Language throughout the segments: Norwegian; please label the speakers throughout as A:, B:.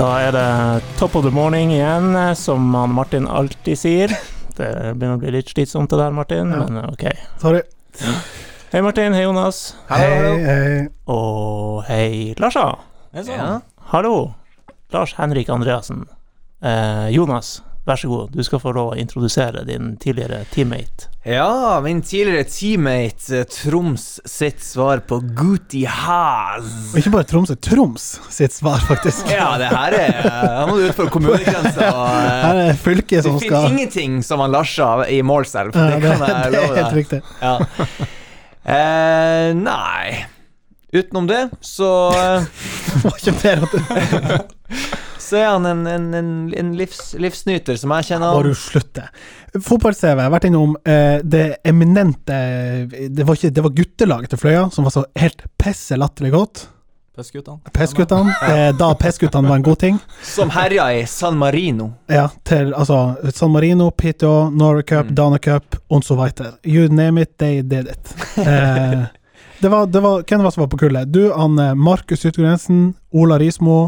A: Da er det top of the morning igjen, eh, som han Martin alltid sier. Det begynner å bli litt slitsomt det der, Martin,
B: Ja.
A: men eh, OK.
B: Sorry.
A: Hei, Martin. Hei, Jonas.
B: Hei, hei.
A: Og hei, Larsa.
B: sånn.
C: Ja.
A: Hallo. Lars Henrik Andreassen. Eh, Jonas, vær så god. Du skal få lov å introdusere din tidligere teammate.
C: ja, min tidligere teammate eh, Troms sitt svar på Guti Haz.
B: Og ikke bare Tromsø, Troms sitt svar, faktisk.
C: Ja, det her er eh, Her må du utfor kommunegrensa.
B: Her er fylket
C: eh, Det
B: som
C: finnes
B: skal
C: ingenting som han Larsa i Målselv.
B: Ja,
C: Det kan jeg
B: det er
C: love
B: helt
C: deg.
B: riktig.
C: Ja. Eh, nei Utenom det så, eh,
B: Det var ikke mer at det
C: så er han en, en, en, en livs, livsnyter som jeg kjenner.
B: Bare
C: han.
B: du slutter. Fotball-CV, jeg har vært innom eh, det eminente Det var, ikke, det var guttelaget til Fløya som var så helt pisse latterlig godt. Pessguttene. Eh, da pessguttene var en god ting.
C: Som herja i San Marino.
B: Ja, til altså San Marino, PTO, Norway Cup,
C: Mm.
B: Dana Cup, and so weiter. You name it, they did it. Eh, det var, det var, hvem var det som var på kullet? Du, han eh, Markus Yttergrensen, Ola Rismo,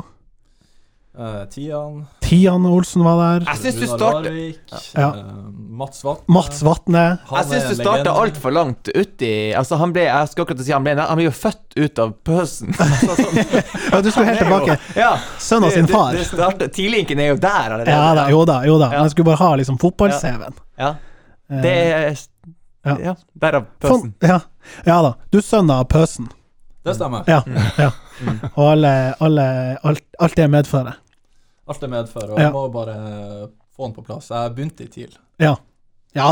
D: Eh, Tian.
B: Tian Olsen var der,
C: Jeg syns du
D: Runar
C: starter
D: Larvik,
B: Ja.
D: eh, Mats Watt. Eh,
B: Mats Vatne
D: Han
C: jeg syns du
D: er en
C: starta
D: legende.
C: altfor langt uti altså han ble, Jeg skal akkurat si han ble Han ble jo født ut av pøsen. Altså, sånn.
B: ja, Du skulle helt
C: Han er jo-
B: tilbake.
C: Ja,
B: Sønnen sin
C: det- det-
B: far.
C: det startet- Tidlinken er jo der allerede.
B: Ja da, jo da, jo da. Men jeg skulle bare ha liksom fotball-CV-en.
C: Ja.
B: Eh,
C: Det er
B: Ja.
C: Ja, derav
B: sånn,
C: pøsen.
B: ja. ja da. Du er sønn av pøsen.
D: Det stemmer.
B: Ja.
C: Mm.
B: ja.
C: Mm.
B: Og alle, alle alt, alt det medfører.
D: Alt det medfører. Og
B: Ja.
D: jeg må bare få den på plass. Jeg begynte i TIL.
B: Ja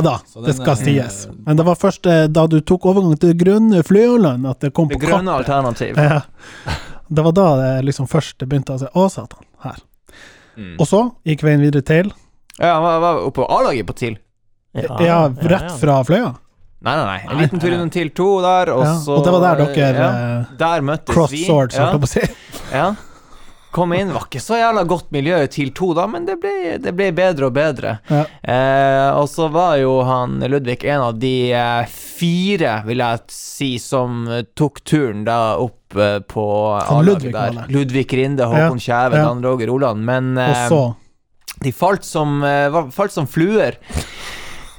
B: da,
D: Så
B: det
D: den
B: skal
D: er-
B: sies. Men det var først eh, da du tok overgangen til grønne Fløland at det kom
C: Det
B: på
C: grønne
B: kartet.
C: alternativ.
B: Ja. Det var da det liksom først det begynte å si Å, satan, her.
C: Mm.
B: Eh, Og så gikk veien videre til
C: Ja, han var- var oppe på A-laget på TIL.
B: Ja, rett fra Fløya.
C: Nei, nei, nei. En
B: Nei.
C: liten tur innom TIL 2 der, og
B: Ja.
C: så
B: Og det var der dere
C: ja.
B: eh,
C: Der møttes
B: crossed
C: vi.
B: swords, holdt
C: ja.
B: jeg på å si.
C: Ja. Kom inn, var ikke så jævla godt miljø i TIL 2 da, men det ble, det ble bedre og bedre.
B: Ja.
C: Eh, og så var jo han Ludvig en av de eh, fire, vil jeg si, som eh, tok turen da opp eh, på
B: Han Ludvig
C: A-laget
B: var
C: der.
B: det.
C: Ludvig Rinde, Håkon Kjæve,
B: ja.
C: Dan Roger Oland. Men
B: Og
C: eh,
B: så
C: de falt som, eh, var- falt som fluer.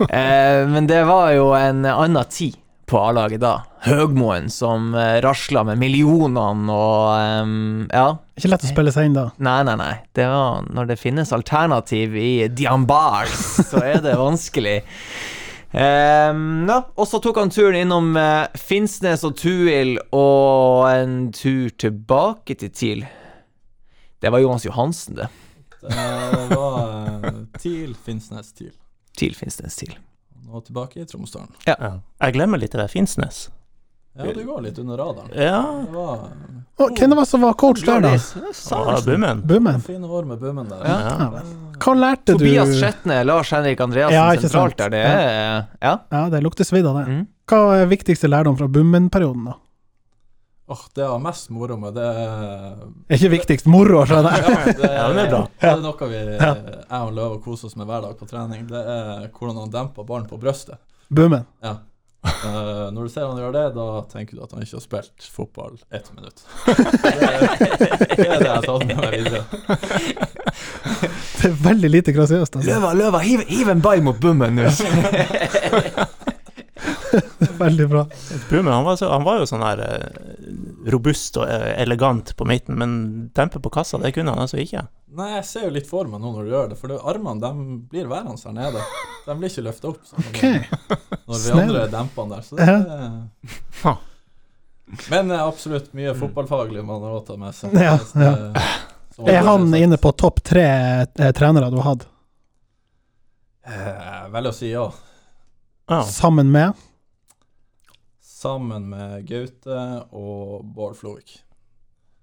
C: eh, men det var jo en annen tid på A-laget da. Høgmoen som eh, rasla med millionene og eh, Ja.
B: Ikke lett å spille seg inn da.
C: Nei, nei, nei. Det var, når det finnes alternativ i Diambars, så er det vanskelig. Ehm, ja. Og så tok han turen innom eh, Finnsnes og Tuil og en tur tilbake til TIL. Det var Jonas Johansen, det.
D: Det var eh, TIL, Finnsnes, TIL.
C: TIL Finnsnes TIL.
D: Nå tilbake i Tromsdalen.
A: Ja. Jeg glemmer litt det der Finnsnes.
D: Ja, du går litt under radaren.
A: Ja,
D: Det var
C: Oh,
B: Å, hvem det var som var coach der, da?
C: Gladis. Ja,
A: og
C: Sarsen.
A: Bummen.
B: Bummen?
D: eh, fine år med Bummen der.
C: Ja.
A: Ja.
B: Ja. Hva lærte du
C: Tobias Skjetne, Lars Henrik Andreassen
B: Ja, ikke sant.
C: sentralt der, det er Ja.
B: Ja, det lukter svidd av det.
C: Mm.
B: Hva er viktigste lærdom fra Bummen-perioden, da?
D: Åh, det var mest moro med det er-
B: Ikke viktigst moro, skjønner jeg.
D: Ja, det,
A: Ja, men det er bra.
D: det er noe vi, eh, jeg og Løv koser oss med hver dag på trening. Det er hvordan han demper ballen på brøstet.
B: Bummen.
D: Ja. Eh, når du ser han gjør det, da tenker du at han ikke har spilt fotball ett minutt. Det er det er det jeg har tatt med meg videre.
B: Det er veldig lite grasiøst, altså.
C: Løva, løva, hiv, hiv en ball mot Bummen nå!
B: Veldig bra.
A: Bummen han var, så, han var jo sånn her eh, robust og eh, elegant på midten, men dempe på kassa, det kunne han altså ikke.
D: Nei, jeg ser jo litt for meg nå når du gjør det, for det, armene de blir værende her nede. De blir ikke løfta opp sånn,
B: Ok.
D: når vi
B: snill.
D: andre demper han der. Så det
A: Ja.
D: er Men eh, absolutt mye fotballfaglig man har tatt med seg.
B: Ja,
D: Så det- som
B: Er han
D: Anders har sagt.
B: inne på topp tre eh, trenere du har hatt,
D: Eh, Vel å si ja.
A: Ja.
B: sammen med
D: Sammen med Gaute og Bård Flovik.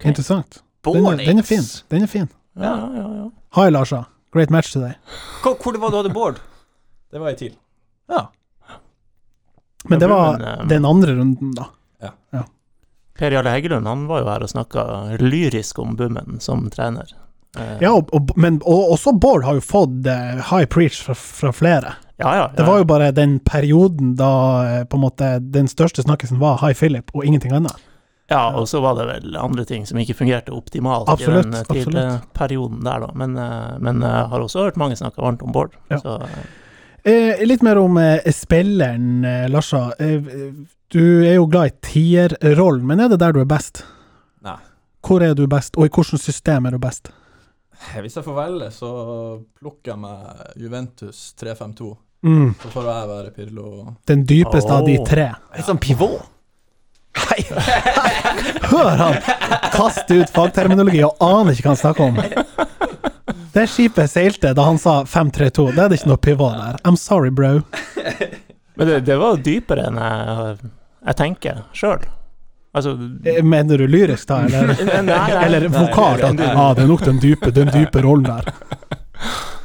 B: Interessant. Den er, den er fin. Den er fin.
A: Ja, ja, ja.
B: Hi, Larsa. Great match today.
C: Hvor, hvor det var du hadde Bård?
D: Det var i TIL.
B: Men det var
A: Bummen, eh,
B: den andre runden, da.
A: Per Jarle Heggelund han var jo her og snakka lyrisk om Bummen som trener. Eh,
B: Ja, og, og, men og, også Bård har jo fått eh, high preach fra, fra flere.
A: ja, ja,
B: Det
A: ja.
B: var jo bare den perioden da eh, på en måte den største snakkisen var High Philip og ingenting annet.
A: Ja, og så var det vel andre ting som ikke fungerte optimalt
B: Absolutt,
A: i den eh, til, eh,
B: absolutt.
A: perioden der, da. Men, eh, men jeg har også hørt mange snakke varmt om Bård.
B: Ja.
A: Så eh,
B: Eh, litt mer om eh, spilleren, eh, Larsa. Eh, du er jo glad i tierrollen, men er det der du er best?
D: Nei.
B: Hvor er du best, og i hvilket system er du best?
D: Eh, Hvis jeg får velge, så plukker jeg meg Juventus 352.
B: Mm.
D: Så får jeg være Pirlo.
B: Den dypeste av de
A: Åh.
B: tre.
C: Litt sånn pivot.
B: Hør han kaste ut fagterminologi og aner ikke hva han snakker om. Det skipet seilte da han sa 5-3-2. Da er det ikke noe pivot der. I'm sorry, bro.
A: Men det, det var jo dypere enn jeg, jeg tenker sjøl. Altså
B: Eh, Mener du lyrisk, da, eller?
A: Nei, nei.
B: Eller
A: Nei,
B: vokalt? at,
A: en-
B: Ah, det er nok den dype, den dype rollen der.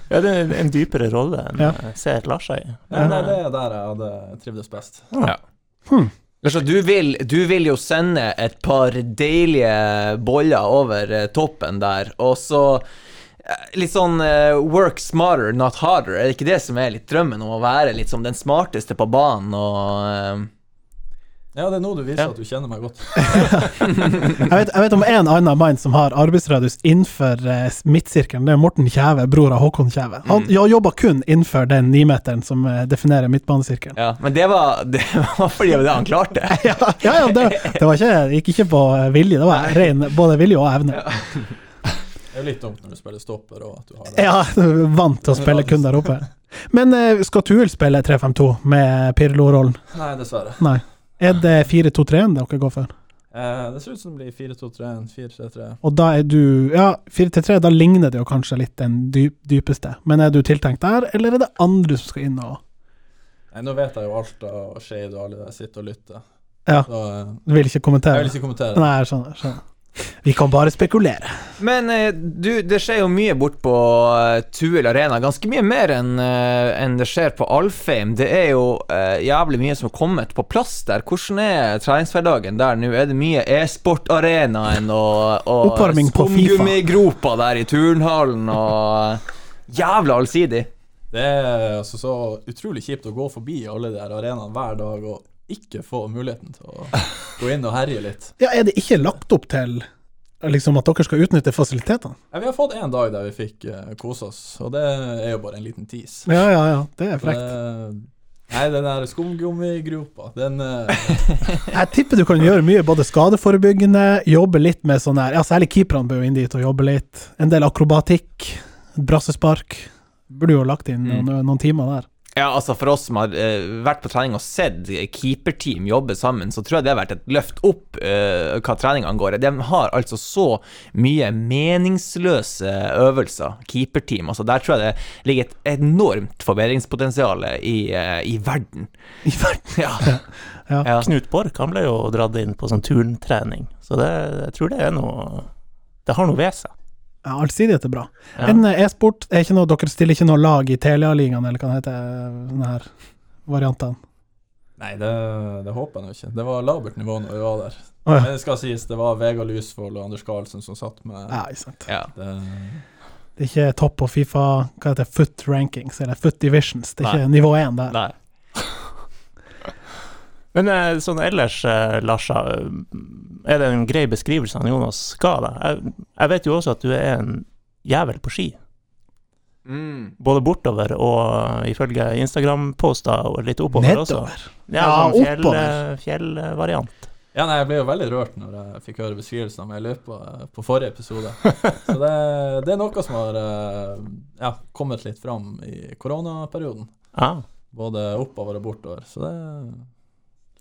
A: Ja, det er en- en dypere rolle enn
B: Ja.
A: jeg ser Lars i.
D: Nei,
A: Men,
D: nei, det
A: eh,
D: er der jeg hadde trivdes best.
C: Lars, du vil, du vil jo sende et par deilige boller over eh, toppen der, og så eh, Litt sånn eh, work smarter, not harder. Er det ikke det som er litt drømmen om å være litt som den smarteste på banen og eh,
D: Ja, det er nå du viser
C: Ja.
D: at du kjenner meg godt.
B: Jeg vet, jeg vet om en annen mann som har arbeidsradius innenfor eh, midtsirkelen. Det er Morten Kjæve, bror av Håkon Kjæve. Han
C: Mm.
B: jeg jobber kun innenfor den nimeteren som eh, definerer midtbanesirkelen.
C: eh, Ja, men det var, det var fordi det var det han klarte.
B: Ja, ja, ja det, det var ikke, det gikk ikke på eh, vilje, det var ren både vilje og evne.
D: Det er jo litt dumt når du spiller stopper og at du har det.
B: Ja, vant til å spille kun der oppe. Men eh, skal Tuel spille 3-5-2 med Pirlo-rollen?
D: Nei, dessverre.
B: Nei. Er det 4-2-3-en dere går for?
D: Eh, det ser ut som det blir 4-2-3-1, 4-3-3.
B: Og da er du Ja, 4-3, da ligner det jo kanskje litt den dyp, dypeste. Men er du tiltenkt der, eller er det andre som skal inn og
D: Nei, Nå vet jeg jo alt og Skeid og alle der sitter og lytter.
B: Ja.
D: Så eh,
B: Du vil ikke kommentere?
D: jeg vil ikke kommentere.
B: Nei, jeg skjønner. jeg skjønner. Vi kan bare spekulere.
C: Men eh, du, det skjer jo mye bort på eh, Tuel Arena. Ganske mye mer enn eh, enn det skjer på Alfheim. Det er jo eh, jævlig mye som har kommet på plass der. Hvordan er treningshverdagen der nå? Er det mye e-sportarenaen og, og
B: Oppvarming på FIFA.
C: skumgummigropa der i turnhallen og eh, Jævla allsidig.
D: Det er altså så utrolig kjipt å gå forbi alle de her arenaene hver dag og ikke få muligheten til å gå inn og herje litt.
B: Ja, er det ikke lagt opp til liksom at dere skal utnytte fasilitetene?
D: Ja, vi har fått én dag der vi fikk eh, kose oss, og det er jo bare en liten tis.
B: Ja, ja, ja. Det er
D: Eh.
B: frekt.
D: Det- Nei, den der skumgummigropa, den eh,
B: Jeg tipper du kan gjøre mye både skadeforebyggende, jobbe litt med sånn her Ja, særlig keeperne bør jo inn dit og jobbe litt. En del akrobatikk, brassespark. Burde jo lagt inn
C: Mm.
B: noen, noen timer der.
C: Ja, altså For oss som har eh, vært på trening og sett keeperteam jobbe sammen, så tror jeg det har vært et løft opp eh, hva treninga angår. De har altså så mye meningsløse øvelser, keeperteam. altså Der tror jeg det ligger et enormt forbedringspotensial i, eh, i verden.
B: I verden.
C: Ja.
B: Ja.
C: Ja.
A: Knut Borch han ble jo dratt inn på sånn turntrening, så det, jeg tror det er noe Det har noe ved seg.
B: Ja, allsidighet er bra.
A: Ja.
B: En eh, e-sport er ikke noe Dere stiller ikke noe lag i Telia-ligaen, eller hva det heter, sånne her variantene.
D: Nei, det, det håper jeg nå ikke. Det var labert nivå når vi var der.
B: Å ja.
D: Men det skal sies, det var Vegard Lysvold og Anders Karlsen som satt med
B: Ja, ikke sant.
C: ja.
D: det.
B: Det er ikke topp på Fifa Hva heter det? Foot rankings, eller foot divisions. Det er ikke nivå én der.
C: Nei.
A: Men eh, sånn ellers, eh, Larsa, eh, er det en grei beskrivelse han Jonas ga deg? Jeg, jeg vet jo også at du er en jævel på ski,
C: Mm.
A: både bortover og eh, ifølge Instagram-poster og litt oppover også.
B: Nedover.
A: Ja,
B: Ja,
A: sånn fjell,
B: oppover.
A: eh, fjellvariant.
D: Ja, nei, jeg ble jo veldig rørt når jeg fikk høre beskrivelsen av meg i løpet av- på forrige episode. Så det, det er noe som har eh, ja, kommet litt fram i koronaperioden.
A: Ja.
D: Både oppover og bortover. Så det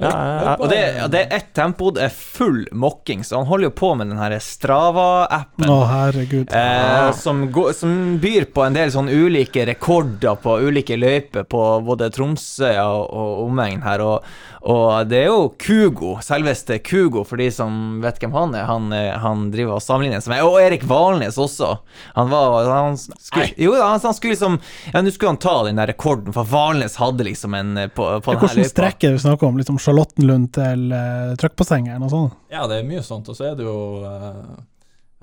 A: Ja, ja,
C: Og det, ja, det er ett tempo, det er full mokking, så han holder jo på med den her Strava-appen.
B: Å, herregud. Ah.
C: Eh, som, går, som byr på en del sånn ulike rekorder på ulike løyper på både Tromsø og, og omegn her. Og, og det er jo Kugo, selveste Kugo, for de som vet hvem han er. Han, eh, han driver og sammenligner seg med Og Erik Valnes også. Han var han skulle, Jo da, han, han skulle liksom Ja, nå skulle han ta den der rekorden, for Valnes hadde liksom en eh, på, på den her
B: Hvordan
C: løypa.
B: strekk er det vi snakker om? Liksom Charlottenlund til uh, Trøkkbassenget, eller noe sånt?
D: Ja, det er mye sånt. Og så er det jo eh,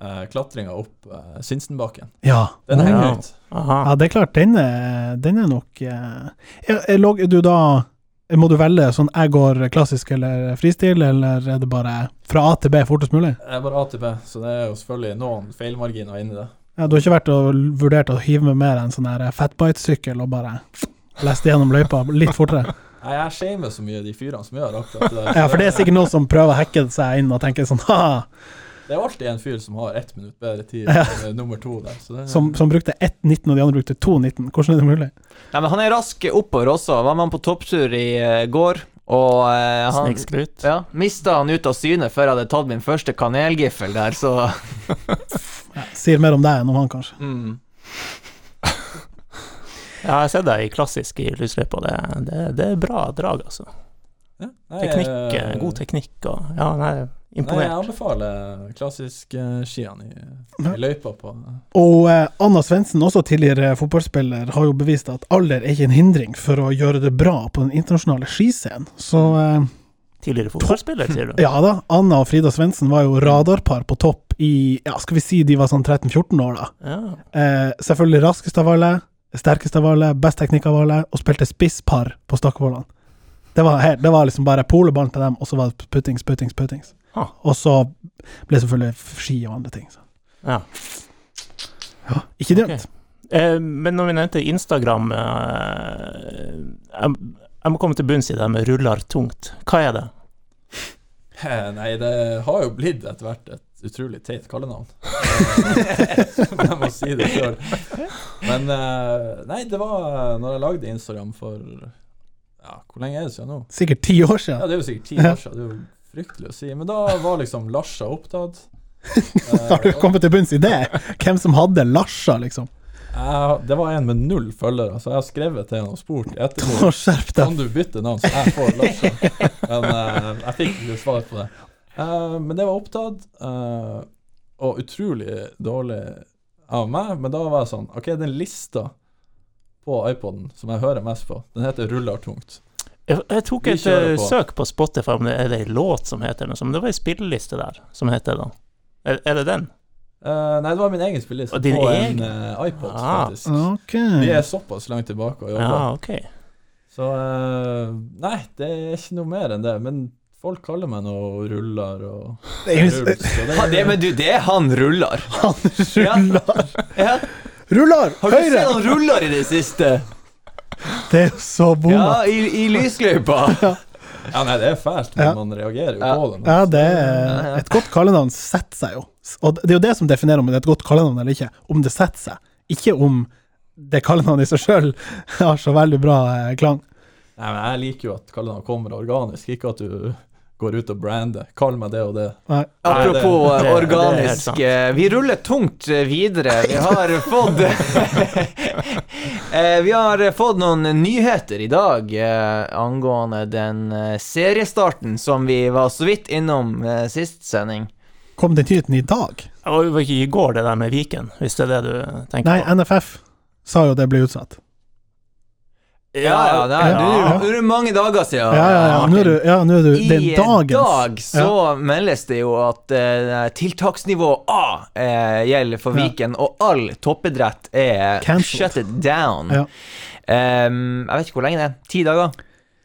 D: eh, klatringa opp eh, Sinsenbakken.
B: Ja.
D: Den henger
A: Ja.
D: ut.
A: Aha.
B: Ja, det er klart, den er, den er nok eh, ja, lå du da Må du velge sånn jeg går klassisk eller fristil, eller er det bare fra A til B fortest mulig?
D: Det er bare AtB, så det er jo selvfølgelig noen feilmarginer inni det.
B: Ja, du har ikke vært og vurdert å hive med mer en sånn her fatbite-sykkel og bare lest gjennom løypa litt fortere?
D: Nei, jeg shamer så mye de fyrene som gjør akkurat det. der.
B: Ja, for det er sikkert noen som prøver å hacke seg inn og tenker sånn ha
D: Det er jo alltid en fyr som har ett minutt bedre tid
B: Ja.
D: enn eh, nummer to der. Så det,
B: som, som brukte 1,19 og de andre brukte 2,19. Hvordan er det mulig?
C: Nei, men han er rask oppover også. Var man på topptur i eh, går, og eh, han
A: Snikskryt.
C: ja, mista han ut av syne før jeg hadde tatt min første kanelgiffel der, så
B: Ja, sier mer om deg enn om han, kanskje.
C: mm.
A: Ja, jeg har sett deg i klassisk i lysløypa. Det, det, det er bra drag, altså.
D: ja. Nei,
A: Teknikk,
D: eh,
A: eh, god teknikk og Ja, nei,
D: Nei, jeg
A: imponert.
D: anbefaler klassisk eh, skiene i,
B: Ja.
D: i løypa på
B: Og eh, Anna Svendsen, også tidligere fotballspiller, har jo bevist at alder er ikke en hindring for å gjøre det bra på den internasjonale skiscenen. Så eh,
A: Tidligere fotballspiller, sier du?
B: ja da, Anna og Frida Svendsen var jo radarpar på topp i ja, skal vi si de var sånn 13-14 år, da.
A: Ja.
B: Eh, selvfølgelig raskest av alle, sterkest av alle, best teknikk av alle, og spilte spisspar på Stakkevollan. Det var, helt- det var liksom bare poleballen til dem, og så var det puttings, puttings, puttings.
A: Ah.
B: Og så ble det selvfølgelig ski og andre ting. Så.
A: ja.
B: Ja, ikke dumt.
A: Ok. Eh, men når vi nevnte Instagram eh, jeg, jeg må komme til bunns i det her med 'ruller tungt'. Hva er det?
D: Eh, Nei, det har jo blitt etter hvert et utrolig teit kallenavn. Eh, Jeg må si det sjøl. Men eh, nei, det var når jeg lagde Instagram for ja, Hvor lenge er det siden nå?
B: Sikkert ti år
D: Ja,
B: siden.
D: det er jo sikkert ti år siden. Det er jo fryktelig å si. Men da var liksom Larsa opptatt. Eh,
B: Har du
D: og-
B: kommet til bunns i det? Hvem som hadde Larsa, liksom?
D: Jeg- Det var en med null følgere, så jeg har skrevet til han og spurt i ettermiddag.
B: Å, Skjerp deg.
D: Kan du bytte navn, så jeg får Larsa? Men eh, jeg fikk ikke svar på det. Eh, men det var opptatt, eh, og utrolig dårlig av meg. Men da var jeg sånn OK, den lista på iPoden som jeg hører mest på, den heter 'Ruller tungt'.
A: Jeg, jeg tok
D: Vi
A: et
D: kjører
A: eh,
D: på.
A: søk på Spotify om det er det en låt som heter noe sånt. Det var ei spilleliste der som heter det. Er, er det den?
D: Eh, nei, det var min egen spilleliste
A: Og din
D: på
A: egen?
D: en eh, iPod,
A: Ah.
D: faktisk.
B: Ok.
D: Vi er såpass langt tilbake og jobber.
A: Ja, ok.
D: Så eh, nei, det er ikke noe mer enn det. Men folk kaller meg noe ruller og
B: Det er jo-
D: ruls. Og
C: Ha, det, Men du, det er han ruller.
B: Han ruller.
C: Ja.
B: Ruller!
C: Har du sett
B: Høyre!
C: han ruller i det siste?
B: Det er jo så bomma.
C: Ja, i, i lysløypa.
D: Ja, nei, det er fælt, men
B: Ja.
D: man reagerer jo
C: Ja.
D: på det.
B: Ja, det er Et godt kallenavn setter seg jo. Og det er jo det som definerer om det er et godt kallenavn eller ikke. Om det setter seg. Ikke om det kallenavnet i seg sjøl har så veldig bra eh, klang.
D: Nei, men jeg liker jo at kallenavn kommer organisk, ikke at du går ut og brander. Kall meg det og det.
B: Nei.
C: Apropos
A: det-
C: eh,
A: det er helt
C: organisk.
A: sant.
C: eh, Vi ruller tungt eh, videre. Vi har fått Eh, Vi har fått noen nyheter i dag eh, angående den eh, seriestarten som vi var så vidt innom eh, sist sending.
B: Kom den nyheten i dag?
A: Og Det var ikke i går, det der med Viken, hvis det er det du tenker
B: Nei,
A: på?
B: NFF sa jo det ble utsatt.
C: Ja, ja, det er,
A: Ja.
C: det er mange dager siden.
B: Ja, ja, ja. Nå er du, ja, nå er du Eh, Den
C: I
B: dagens.
C: dag så meldes det jo at eh, tiltaksnivå A eh, gjelder for
B: Ja.
C: Viken, og all toppidrett er
B: Cancelled.
C: shutted down.
B: Ja.
C: Ehm, jeg vet ikke hvor lenge det er. Ti dager?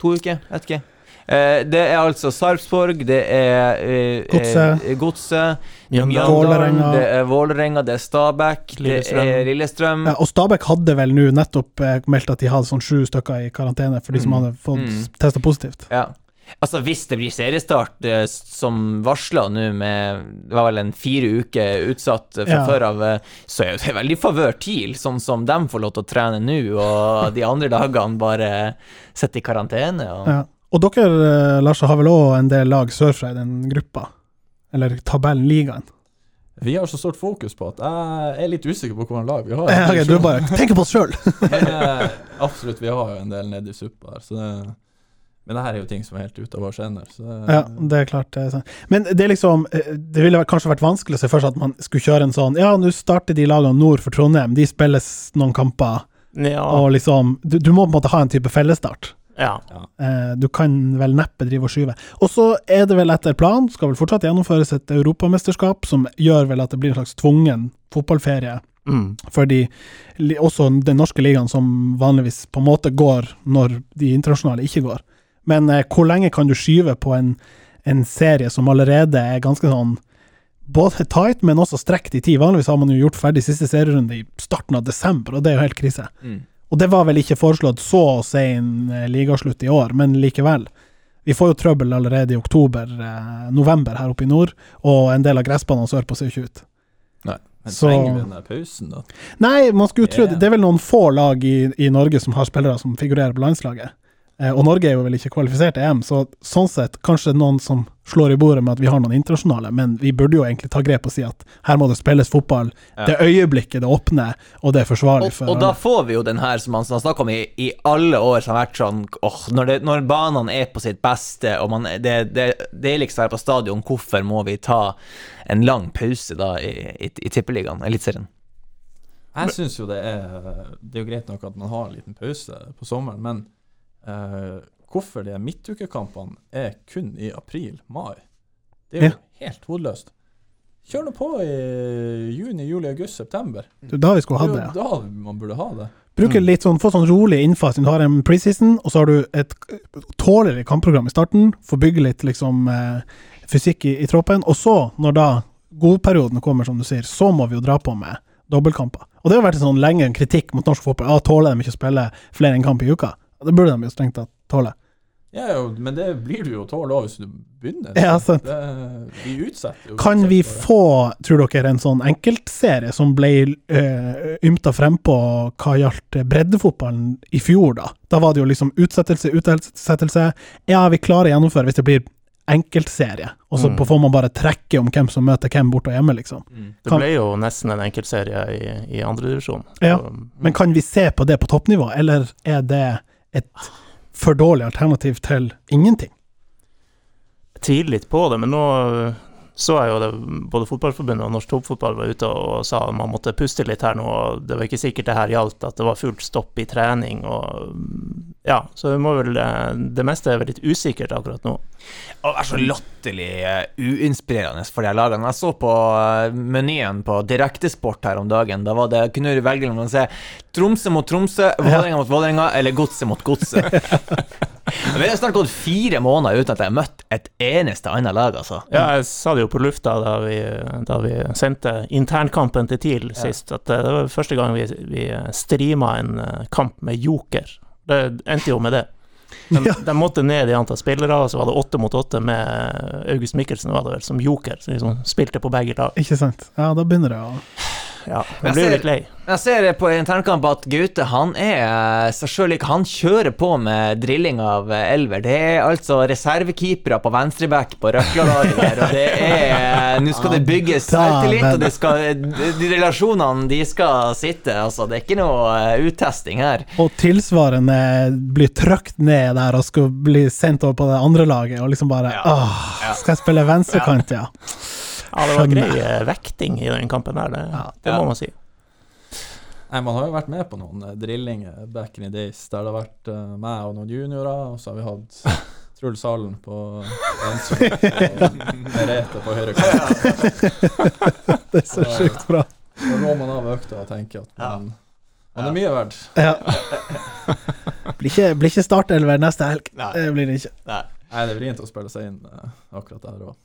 C: To uker? Jeg vet ikke. Eh, det er altså Sarpsborg, det er eh,
B: Godset.
C: eh, Godset,
A: Mjøndalen.
C: Mjøndalen,
B: Vålerenga.
C: det er Vålerenga, det er Stabæk, det
A: Lillestrøm.
C: er Lillestrøm.
B: Ja, og Stabæk hadde vel nå nettopp eh, meldt at de hadde sånn sju stykker i karantene for de som
C: Mm.
B: hadde fått
C: Mm.
B: testa positivt.
C: Ja. Altså, hvis det blir seriestart, eh, s- som varsla nå med Det var vel en fire uker utsatt eh, fra
B: Ja.
C: før av, eh, så er jo det veldig favør TIL, sånn som dem får lov til å trene nå, og de andre dagene bare sitter i karantene. Og...
B: Ja. Og dere, eh, Lars, har vel òg en del lag sørfra i den gruppa? Eller tabellen, ligaen?
D: Vi har så stort fokus på at jeg er litt usikker på hvordan lag vi har.
B: Ja, ok, du bare tenker på oss sjøl.
D: Men, eh, absolutt, vi har jo en del nedi suppa her, så det Men det her er jo ting som er helt ute av vår sender, så det,
B: Ja, det er klart. det er sant. Men det er liksom eh, Det ville vært- kanskje vært vanskelig å se for seg at man skulle kjøre en sånn Ja, nå starter de lagene nord for Trondheim, de spilles noen kamper,
A: Ja.
B: og liksom Du, du må på en måte ha en type fellesstart.
A: ja.
B: Eh, Du kan vel neppe drive og skyve. Og så er det vel etter planen, skal vel fortsatt gjennomføres et europamesterskap som gjør vel at det blir en slags tvungen fotballferie
A: Mm.
B: for de, li- også den norske ligaen som vanligvis på en måte går når de internasjonale ikke går. Men eh, hvor lenge kan du skyve på en, en serie som allerede er ganske sånn både tight, men også strekt i tid? Vanligvis har man jo gjort ferdig siste serierunde i starten av desember, og det er jo helt krise.
C: Mm.
B: Og det var vel ikke foreslått så sen eh, ligaslutt i år, men likevel. Vi får jo trøbbel allerede i oktober, eh, november her oppe i nord, og en del av gressbanene sørpå ser jo ikke ut.
D: Men
B: Så-
D: trenger vi den der pausen, da?
B: Nei, man skulle jo tro
D: Ja.
B: det. Det er vel noen få lag i, i Norge som har spillere som figurerer på landslaget. Eh, og Norge er jo vel ikke kvalifisert til EM, så sånn sett kanskje noen som slår i bordet med at vi har noen internasjonale, men vi burde jo egentlig ta grep og si at her må det spilles fotball
C: Ja.
B: det øyeblikket det åpner, og det er forsvarlig
C: Og,
B: for
C: og da får vi jo den her som han har snakka om i, i alle år, som har vært sånn åh, når, det, når banene er på sitt beste, og man, er- det, det, det er liksom her på stadion, hvorfor må vi ta en lang pause da i, i, i Tippeligaen, Eliteserien?
D: Jeg syns jo det er Det er jo greit nok at man har en liten pause på sommeren, men eh, hvorfor de her midtukekampene er kun i april-mai? Det er jo helt hodeløst. Kjør nå på i juni, juli, august, september.
B: alle. Da vi skulle
D: Det
B: hatt
D: er
B: det.
D: jo
B: ja.
D: da man burde ha det.
B: Bruke litt sånn, Få sånn rolig innfasing. Du har en preseason, og så har du et k- tåligere kampprogram i starten. Få bygge litt liksom eh, fysikk i, i troppen. Og så, når da godperioden kommer, som du sier, så må vi jo dra på med dobbeltkamper. Og det har vært en sånn lenge en kritikk mot norsk fotball. Ah, tåler de ikke å spille flere enn kamp i uka? Ja, Det burde de jo strengt tatt tåle.
D: Ja, jo, men det blir du jo tål òg hvis du begynner.
B: Ja, sant.
D: Det, vi utsetter jo
B: Kan
D: utsetter
B: vi
D: bare.
B: få, tror dere, en sånn enkeltserie som ble uh, ymta frempå hva gjaldt breddefotballen i fjor, da? Da var det jo liksom utsettelse, utsettelse. Ja, vi klarer å gjennomføre hvis det blir enkeltserie, og så
A: Mm.
B: får man bare trekke om hvem som møter hvem borte og hjemme, liksom.
A: Det
B: Kan-
A: ble jo nesten en enkeltserie i, i andredivisjon.
B: Ja. Men kan vi se på det på toppnivå, eller er det et for dårlig alternativ til ingenting?
A: tvile litt på det, men nå eh, så jeg jo det både Fotballforbundet og Norsk Toppfotball var ute og sa at man måtte puste litt her nå, og det var ikke sikkert det her gjaldt, at det var fullt stopp i trening og mm, Ja, så vi må vel eh, Det meste er vel litt usikkert akkurat nå.
C: Å være så latterlig eh, uinspirerende for de her lagene. Jeg så på eh, menyen på Direktesport her om dagen. Da var det kunne du velge mellom å se Tromsø mot Tromsø, Vålerenga mot Vålerenga eller Godset mot Godset. Vi har snart gått fire måneder uten at jeg har møtt et eneste annet lag, altså.
A: Ja, jeg sa det jo på lufta da vi, da vi sendte internkampen til TIL sist, at eh, det var første gang vi, vi streama en eh, kamp med joker. Det endte jo med det. De,
B: Ja.
A: de måtte ned i antall spillere, og så var det åtte mot åtte med August Mikkelsen var det vel, som joker, som liksom spilte på begge lag.
B: Ikke sant? Ja, da begynner det å
A: Ja,
C: Jeg
A: jeg blir
C: ser-
A: jo litt lei.
C: Jeg ser på internkamp at Gaute han er seg sjøl ikke. Han kjører på med drilling av eh, elver. Det er altså reservekeepere på venstreback på Røkla-laget der, og det er Nå skal det bygges selvtillit, og det skal, de de relasjonene de skal sitte. Altså, det er ikke noe eh, uttesting her.
B: Og tilsvarende blir trøkt ned der og skal bli sendt over på det andre laget, og liksom bare
C: Ja.
B: Åh, skal jeg spille venstrekant, ja?
A: Ja, det var
B: Skjønner.
A: grei eh, vekting i den kampen der, det,
B: Ja.
A: det
C: Ja.
A: må man si.
D: Nei, Man har jo vært med på noen eh, drillinger back in the days der det har vært eh, meg og noen juniorer, og så har vi hatt Truls Hallen på venstre og Merete på høyre kant.
B: Det er så
D: Ja.
B: sjukt bra.
D: Da går man av økta og tenker at man, man er mye verdt.
B: Ja. Blir ikke, blir ikke startelver neste helg.
C: Nei.
B: Det blir det ikke.
D: Nei, det er vrient å spille seg inn eh, akkurat der òg.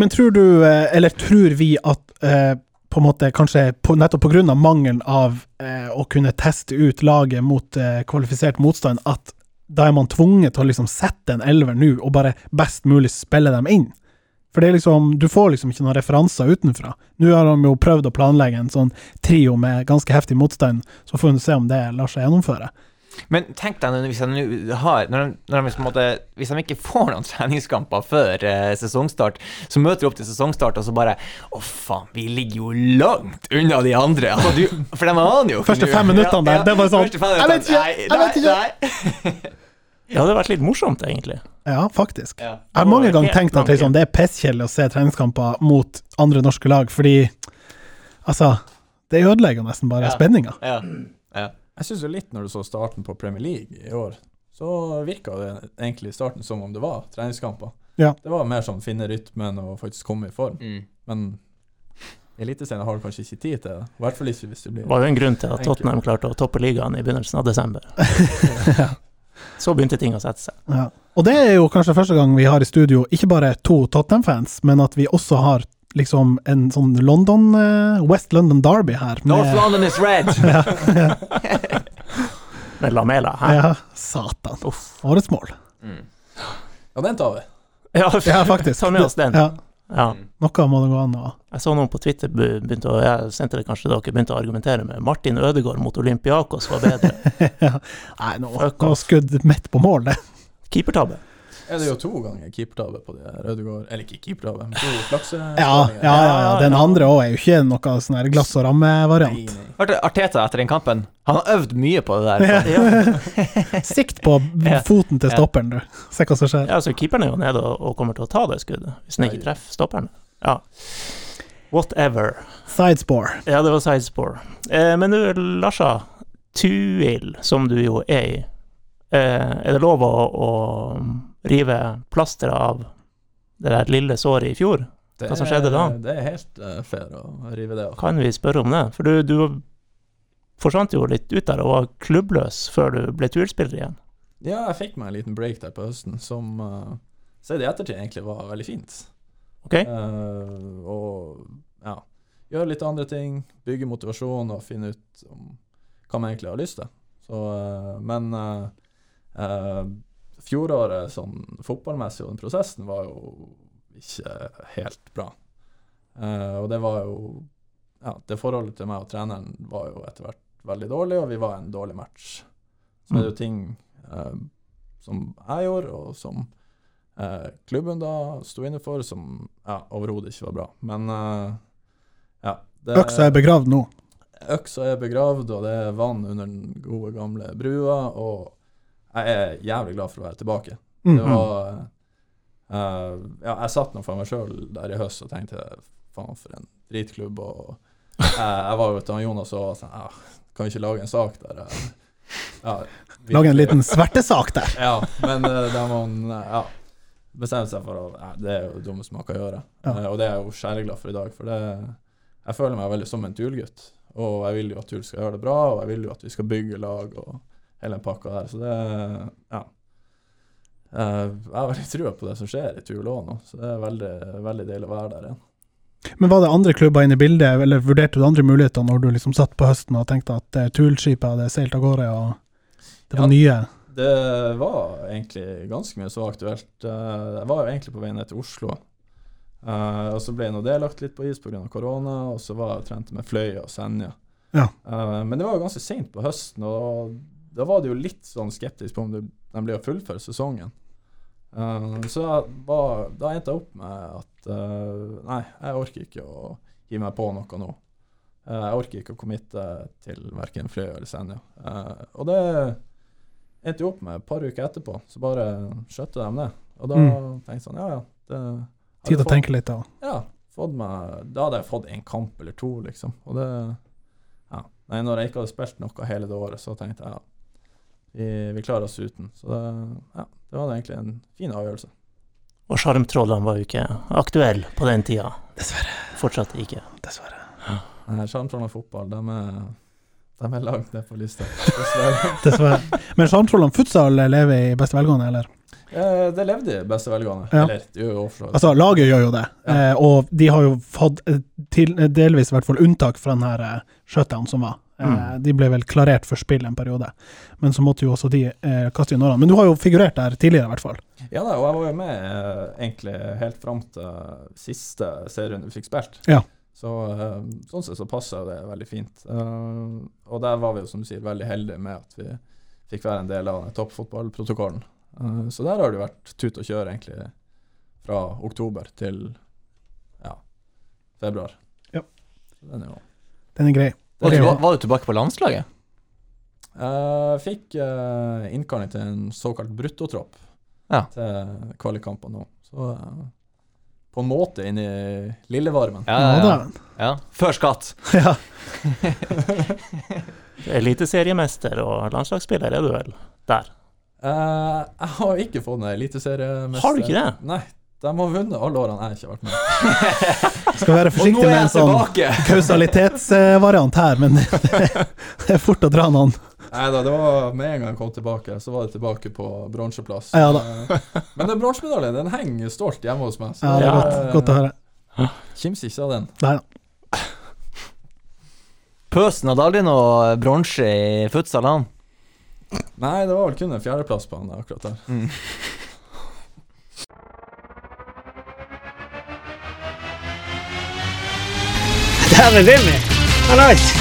B: Men tror du, eh, eller tror vi at eh, på en måte kanskje på, nettopp pga. mangelen av eh, å kunne teste ut laget mot eh, kvalifisert motstand, at da er man tvunget til å liksom sette en elver nå og bare best mulig spille dem inn? For det er liksom, du får liksom ikke noen referanser utenfra. Nå har de jo prøvd å planlegge en sånn trio med ganske heftig motstand, så får vi se om det lar seg gjennomføre.
C: Men tenk deg nå hvis de nå har når de, når de liksom på en måte, Hvis de ikke får noen treningskamper før eh, sesongstart, så møter de opp til sesongstart, og så bare Å, faen, vi ligger jo langt unna de andre! Altså, du, for de aner jo ikke
B: Første
C: nå.
B: fem minuttene der, det er bare sånn,
C: første fem
B: «Jeg vet ikke,
C: minuttene,
B: jeg vet ikke».
C: Nei, nei,
A: Det hadde vært litt morsomt, egentlig.
B: Ja, faktisk.
C: Ja.
B: Jeg har mange ganger
A: Helt
B: tenkt at
A: blanke.
B: liksom, det er pisskjedelig å se treningskamper mot andre norske lag, fordi altså Det ødelegger jo nesten bare
C: Ja.
B: spenninga.
C: nei. Ja.
D: Jeg syns jo litt når du så starten på Premier League i år, så virka det egentlig i starten som om det var treningskamper.
B: Ja.
D: Det var mer sånn finne rytmen og faktisk komme i form.
C: Mm.
D: Men i Eliteserien har du kanskje ikke tid til det. I hvert fall ikke hvis det
A: Det
D: blir
A: var jo en grunn til at
D: Enkelt.
A: Tottenham klarte å toppe ligaen i begynnelsen av desember. Så begynte ting å sette seg.
B: Ja. Og det er jo kanskje første gang vi har i studio ikke bare to Tottenham-fans, men at vi også har liksom en sånn London eh, West London Derby her. med-
C: North London is red!
A: Med Lamela her.
B: Ja, satan.
A: Uff.
B: Årets mål.
C: Mm.
D: Ja, den tar vi.
A: Ja,
B: Ja, faktisk.
A: Ta med oss den.
B: Ja,
A: Ja.
B: noe må det gå an å
A: Jeg så noen på Twitter be- begynte å, jeg sendte det kanskje dere begynte å argumentere med Martin Ødegaard mot Olympiakos var bedre.
B: Nei, nå
A: Fuck
B: nå skudd midt på mål, det.
A: Keepertabbe.
D: Er det jo to ganger keepertabbe på det her, Rødegård Eller ikke keepertabbe, men to flakse...
B: Ja, ja, ja, ja. Den andre òg er jo ikke noe sånn her glass og
D: Nei,
B: ramme-variant.
D: nei.
C: Hørte Arteta etter den kampen. Han har øvd mye på det der.
A: Ja,
B: Sikt på
C: Ja.
B: foten til
C: Ja.
B: stopperen, du. Se hva som skjer.
A: ja så keeperen er jo nede og, og kommer til å ta det skuddet, hvis den ikke treffer stopperen. Ja. Whatever.
B: Sidespore.
A: Ja, det var sidespore. Eh, men du, Larsa. Tuil, som du jo er i. Eh, er det lov å, å rive plasteret av det der lille såret i fjor?
D: Det
A: Hva som skjedde da?
D: er- Det er helt eh, fair å rive det av.
A: Kan vi spørre om det? For du, du forsvant jo litt ut der og var klubbløs før du ble turspiller igjen.
D: Ja, jeg fikk meg en liten break der på høsten som uh, sett i ettertid egentlig var veldig fint.
A: Ok?
D: Eh, og ja, gjøre litt andre ting, bygge motivasjon og finne ut om hva man egentlig har lyst til. Så, eh, men eh, eh, fjoråret sånn fotballmessig og den prosessen var jo ikke helt bra. Eh, og det var jo ja, Det forholdet til meg og treneren var jo etter hvert veldig dårlig, og vi var en dårlig match. Så det er jo ting eh, som jeg gjorde, og som eh, klubben da sto inne for, som ja, overhodet ikke var bra. Men eh, ja det-
B: Øksa er begravd nå.
D: Øksa er begravd, og det er vann under den gode, gamle brua, og jeg er jævlig glad for å være tilbake.
B: Mm.
D: Det var eh, Ja, jeg satt nå for meg sjøl der i høst og tenkte faen, for en dritklubb, og jeg, jeg var jo til han Jonas og sa ah, kan vi ikke lage en sak der jeg, ja,
B: Lag en liten svertesak der.
D: ja, men eh, da må man eh, ja, bestemme seg for å ja, Det er jo det dummeste man kan gjøre.
B: Ja.
D: Eh, og det er jeg jo skjæreglad for i dag, for det, jeg føler meg veldig som en Tull-gutt. Og jeg vil jo at Tull skal gjøre det bra, og jeg vil jo at vi skal bygge lag og hele den pakka der. Så det Ja. Eh, jeg har veldig trua på det som skjer i Tull òg nå, så det er veldig, veldig deilig å være der igjen.
B: Men var det andre klubber inne i bildet, eller vurderte du andre muligheter når du liksom satt på høsten og tenkte at eh, Tulskipet hadde seilt av gårde, og det var nye?
D: Det var egentlig ganske mye som var aktuelt. Eh, Jeg var jo egentlig på vei ned til Oslo. Eh, og så ble nå det lagt litt på is pga. korona, og så var jeg og trente med Fløya og Senja.
B: Ja.
D: Eh, men det var jo ganske seint på høsten, og da var det jo litt sånn skeptisk på om det, de ble å fullføre sesongen. Eh, så jeg var, da endte jeg opp med at eh, nei, jeg orker ikke å gi meg på noe nå. Eh, jeg orker ikke å committe til verken Fløya eller Senja. Eh, og det endte jo opp med et par uker etterpå, så bare skjøtte de det. Og da
B: Mm.
D: tenkte jeg sånn, ja ja. Det, hadde
B: Tid å
D: fått-
B: tenke litt av.
D: Ja. Fått meg, da hadde jeg fått en kamp eller to, liksom. Og det ja. Nei, når jeg ikke hadde spilt noe hele det året, så tenkte jeg ja, vi, vi klarer oss uten. Så det, ja, det var egentlig en fin avgjørelse.
A: Og sjarmtrollene var jo ikke aktuelle på den tida.
B: Dessverre.
A: Fortsatt ikke.
B: Dessverre.
D: Sjarmtrollene fotball, de er, de er langt ned på lista. Dessverre.
B: Dessverre. Men Sjarmtrollene futsal lever i beste velgående, eller?
D: Eh, det levde i beste velgående.
B: Ja.
D: Eller, det gjør jo for så vidt.
B: Altså, laget gjør jo det,
D: Ja.
B: eh, og de har jo fått eh, til, eh, delvis i hvert fall unntak fra den her eh, shutdown som var. Eh,
A: Mm.
B: De ble vel klarert for spill en periode, men så måtte jo også de eh, kaste inn årene. Men du har jo figurert der tidligere, i hvert fall.
D: Ja da, og jeg var jo med eh, egentlig helt fram til siste serien vi fikk spilt.
B: Ja.
D: Så eh, sånn sett så passa det veldig fint. Eh, og der var vi jo som du sier veldig heldige med at vi fikk være en del av den toppfotballprotokollen. Eh, så der har det jo vært tut og kjør egentlig fra oktober til ja, februar.
B: Ja.
D: Så den er jo
B: Den er grei.
C: Var
B: Det er
C: du,
B: jo-
C: var du tilbake på landslaget?
D: Eh, fikk eh, innkalling til en såkalt bruttotropp
C: Ja.
D: til kvalikkampen nå. Så eh, på en måte inn i lillevarmen.
C: Ja,
B: Ja,
C: ja,
B: da.
C: ja. ja. Før skatt.
B: ja.
A: Eliteseriemester og landslagsspiller er du vel der?
D: Eh, jeg har ikke fått en eliteseriemester.
A: Har du ikke det?
D: Nei. De har vunnet alle årene jeg ikke har vært med.
B: Skal være
C: Og nå
B: forsiktig
C: er
B: med en
C: jeg
B: sånn
C: tilbake!
B: kausalitetsvariant her, men det er fort å dra noen
D: Nei da, det var med en gang jeg kom tilbake, så var det tilbake på bronseplass.
B: Ja da.
D: Eh, Men den bronsemedaljen den henger stolt hjemme hos meg. så
B: Ja, det
A: Ja.
B: er godt, godt å høre.
D: Kims ikke av den.
B: Nei da.
C: Pøsen hadde aldri noe bronse i futsal, han.
D: Nei, det var vel kun en fjerdeplass på han der, akkurat der.
A: Mm.
E: Der er Jimmy. Hallais.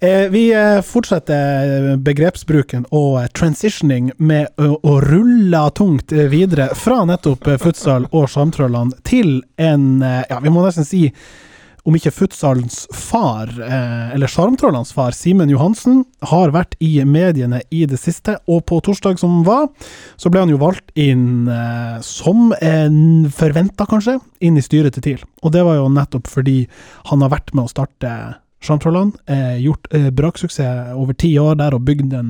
B: Eh, vi eh, fortsetter eh, begrepsbruken og eh, transitioning med å, å rulle tungt eh, videre fra nettopp eh, futsal og sjarmtrollene til en eh, Ja, vi må nesten si om ikke futsalens far, eh, eller sjarmtrollenes far, Simen Johansen, har vært i mediene i det siste, og på torsdag som var, så ble han jo valgt inn eh, som en forventa, kanskje, inn i styret til TIL. Og det var jo nettopp fordi han har vært med å starte Sjarmtrollene, eh, gjort eh, braksuksess over ti år der og bygd en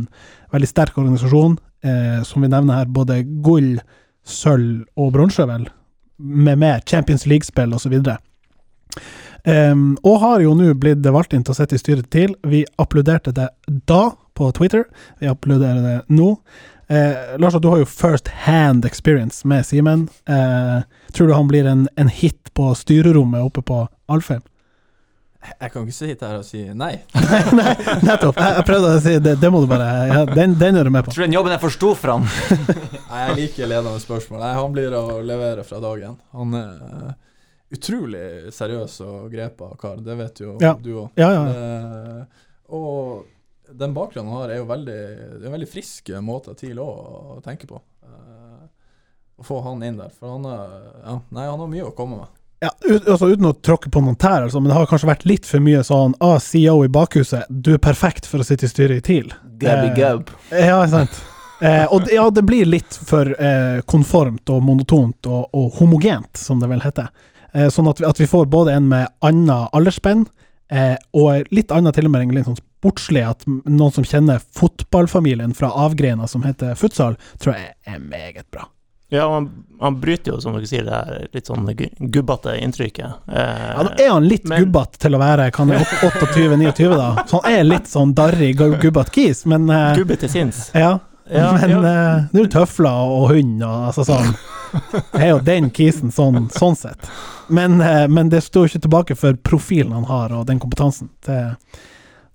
B: veldig sterk organisasjon, eh, som vi nevner her, både gull, sølv og bronse, vel, med mer Champions League-spill osv. Um, og har jo nå blitt valgt inn til å sitte i styret til. Vi applauderte det da på Twitter, vi applauderer det nå. Eh, Lars, du har jo first hand experience med Simen. Eh, tror du han blir en, en hit på styrerommet oppe på Alfheim?
D: Jeg kan ikke sitte her og si nei.
B: Nei, nettopp. Jeg, jeg prøvde å si det, det må du bare ja, den, den er du med
C: Jeg
B: på.
C: tror den jobben jeg forsto for han.
D: Nei, Jeg liker ledende spørsmål. Nei, han blir å levere fra dagen. Han er eh, utrolig seriøs og grepa kar, det vet jo
B: Ja.
D: du òg.
B: Ja, ja.
D: Eh, og den bakgrunnen han har, er jo veldig, det er en veldig frisk måte av TIL også å tenke på. Eh, å få han inn der. For han, er- ja, nei, han har mye å komme med.
B: ja ut, altså, uten å tråkke på noen tær, altså, men det har kanskje vært litt for mye sånn ah, CEO i bakhuset, du er perfekt for å sitte i styret i TIL. Eh,
C: Gubby gub.
B: Ja, sant. Eh, og det- ja, det blir litt for eh, konformt og monotont og, og homogent, som det vel heter. Eh, sånn at vi, at vi får både en med anna aldersspenn eh, og litt anna tilmelding, litt sånn sportslig, at m- noen som kjenner fotballfamilien fra avgreina som heter futsal, tror jeg er meget bra.
A: Ja, og han, han bryter jo, som dere sier, det her litt sånn gu- gubbete inntrykket. Eh,
B: Ja, nå er han litt
A: Men-
B: gubbete til å være kan han er 28-29, da. Så han er litt sånn darrig gu- gubbete kis, men eh,
A: Gubbe til sinns.
B: ja.
A: Ja,
B: men
A: ja.
B: eh, det er jo tøfler og hund og altså sånn. Det er jo den kisen sånn, sånn sett. Men, eh, men det står jo ikke tilbake for profilen han har og den kompetansen. Det,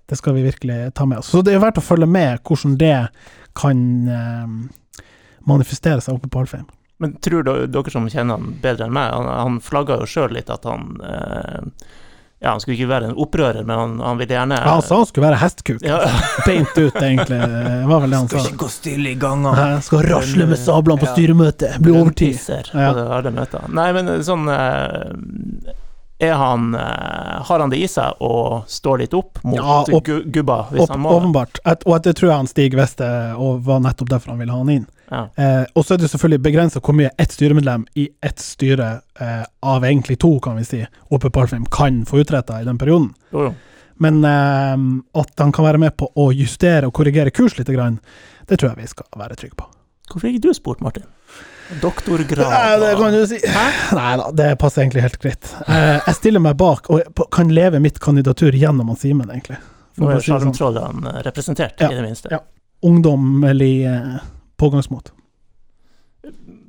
B: det skal vi virkelig ta med oss. Så det er verdt å følge med hvordan det kan eh, manifestere seg oppe på Alfheim.
A: Men tror dere, dere som kjenner han bedre enn meg, han, han flagga jo sjøl litt at han eh, Ja, han skulle ikke være en opprører, men han, han ville gjerne
B: Ja, han sa han skulle være hestkuk.
A: Ja,
B: Beint ut, egentlig. Det var vel det han sa.
C: Skal ikke gå stille i gangene.
B: Jeg skal rasle
A: eh,
B: med sablene på styremøtet. Bli overtid.
A: Pisser
B: Ja.
A: på det harde møtet. Nei, men sånn eh, Er han eh, Har han det i seg å stå litt opp mot
B: Ja, opp-
A: gu, gubba, hvis
B: Opp,
A: han må? det?
B: åpenbart. Et, og at det tror jeg han Stig visste, og var nettopp derfor han ville ha han inn.
A: Ja.
B: Eh, og så er det selvfølgelig begrensa hvor mye ett styremedlem i ett styre, eh, av egentlig to, kan vi si, oppe på Alfheim kan få utretta i den perioden.
A: Jo, jo.
B: Men eh, at han kan være med på å justere og korrigere kurs litt, grann, det tror jeg vi skal være trygge på.
A: Hvorfor ikke du spurt, Martin? Doktorgrad
B: Nei, det
A: og-
B: kan du si. Nei da, det passer egentlig helt greit. Eh, jeg stiller meg bak og på- kan leve mitt kandidatur gjennom han Simen, egentlig. For
A: Nå
B: å
A: er
B: si det sånn.
A: sjarmtrollene representert,
B: Ja.
A: i det minste.
B: Ja. Ungdommelig eh, pågangsmot.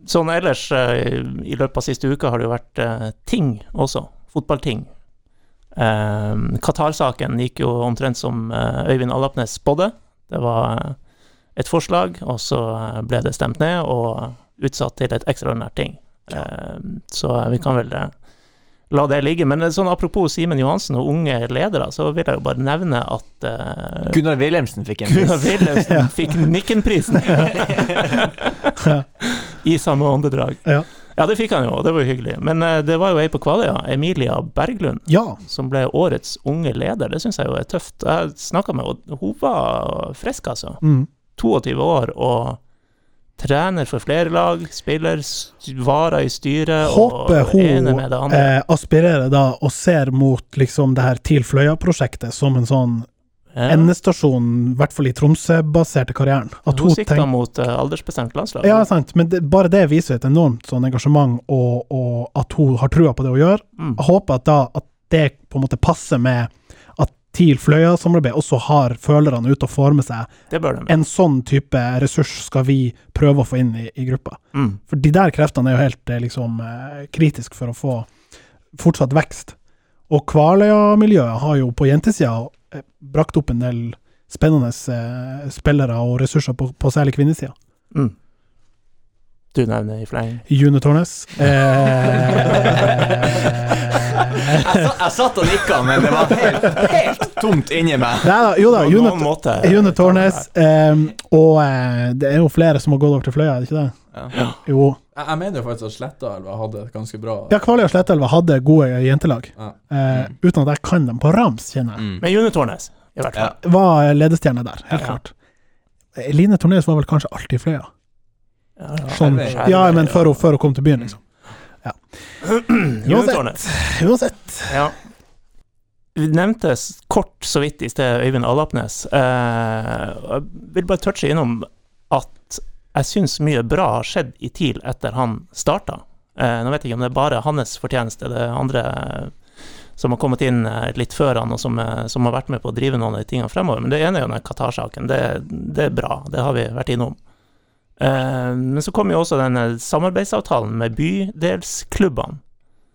A: Sånn ellers, eh, i løpet av siste uka har det jo vært eh, ting også. Fotballting. Eh, Qatar-saken gikk jo omtrent som eh, Øyvind Allapnes spådde. Det var eh, et forslag, og så eh, ble det stemt ned og utsatt til et ekstraordinært ting. Eh, så eh, vi kan vel eh, la det ligge. Men eh, sånn apropos Simen Johansen og unge ledere, så vil jeg jo bare nevne at eh,
C: Gunnar Wilhelmsen fikk en
A: Gunnar
C: pris.
A: Wilhelmsen fikk Nikken-prisen i samme åndedrag.
B: Ja.
A: Ja, det fikk han jo, og det var jo hyggelig. Men eh, det var jo ei på Kvaløya, Emilia Berglund,
B: Ja.
A: som ble årets unge leder. Det syns jeg jo er tøft. Jeg snakka med henne, og hun var frisk, altså.
B: Mm.
A: 22 år og trener for flere lag, spiller, st- varer i styret
B: Håper
A: og ene med det
B: hun
A: andre.
B: eh, aspirerer da og ser mot liksom det her TIL Fløya-prosjektet som en sånn
A: Ja.
B: endestasjon, i hvert fall i Tromsø-baserte karrieren. At
A: Hun
B: hun
A: sikta
B: tenker
A: mot eh, aldersbestemt landslag.
B: ja, altså- sant, men det, bare det viser et enormt sånn engasjement, og, og at hun har trua på det hun gjør.
A: Mm.
B: Jeg håper at da at det på en måte passer med at TIL Fløya-samarbeid også har følerne ute og former seg.
A: Det bør de.
B: En sånn type ressurs skal vi prøve å få inn i, i gruppa.
A: Mm.
B: For de der kreftene er jo helt eh, liksom, eh, kritisk for å få fortsatt vekst. Og Kvaløya-miljøet har jo på jentesida eh, brakt opp en del spennende eh, spillere og ressurser på, på særlig kvinnesida.
A: Mm. Du nevner i fleng.
B: June Tårnes.
C: jeg,
B: Eh,
C: sa, jeg satt og nikka, men det var helt, helt tomt inni meg.
B: Nei da, jo da.
A: På
B: June,
A: noen måte.
B: June Tårnes. ehm, og eh, det er jo flere som har gått over til Fløya, er det ikke det?
C: Ja.
B: Jo.
D: Jeg, jeg mener jo faktisk at Slettaelva hadde et ganske bra
B: Ja, Kvaløy og Slettelva hadde gode jentelag.
D: Ja.
B: Eh, Uten at jeg kan dem på rams, kjenner jeg.
C: Mm.
A: Men June Tårnes, i hvert fall.
C: Ja.
B: Var ledestjerne der, helt
A: Mm. Ja.
B: klart. Eh, Line Tornes var vel kanskje alltid i Fløya.
A: Ja, ja.
B: Sånn,
A: Skjervøy,
B: ja, men før hun, før hun kom til byen, liksom.
A: June
B: Uansett.
A: Tårnes.
B: Uansett.
A: Ja. Vi nevnte s- kort så vidt i sted Øyvind Alapnes. Eh, og jeg vil bare touche innom at jeg syns mye bra har skjedd i TIL etter han starta. Eh, nå vet jeg ikke om det er bare hans fortjeneste, det er andre eh, som har kommet inn eh, litt før han, og som, eh, som har vært med på å drive noen av de tingene fremover. Men det ene er jo den Qatar-saken. Det, det er bra, det har vi vært innom. Eh, men så kom jo også denne samarbeidsavtalen med bydelsklubbene.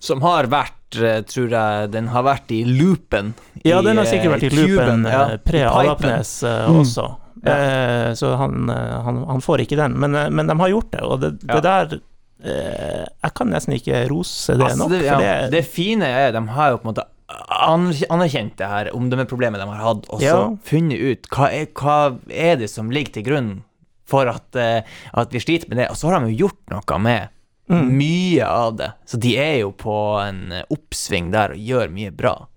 C: Som har vært, eh, tror jeg, den har vært i loopen.
A: Ja,
C: i,
A: den har
C: eh,
A: sikkert vært i
C: tuben,
A: loopen
C: ja,
A: eh, pre
C: i pipen.
A: Alapnes eh,
B: Mm.
A: også,
C: Ja.
A: Eh, så han, eh, han, han får ikke den. Men, eh, men de har gjort det, og det, det
C: Ja.
A: der eh, Jeg kan nesten ikke rose det
C: Altså,
A: nok.
C: det, ja,
A: for
C: det, fine er de har jo på en måte aner- anerkjent det her omdømmeproblemet de har hatt, og så
A: Ja.
C: funnet ut hva er, hva er det som ligger til grunn for at, eh, at vi sliter med det. Og så har de jo gjort noe med
A: mm.
C: mye av det, så de er jo på en eh, oppsving der og gjør mye bra.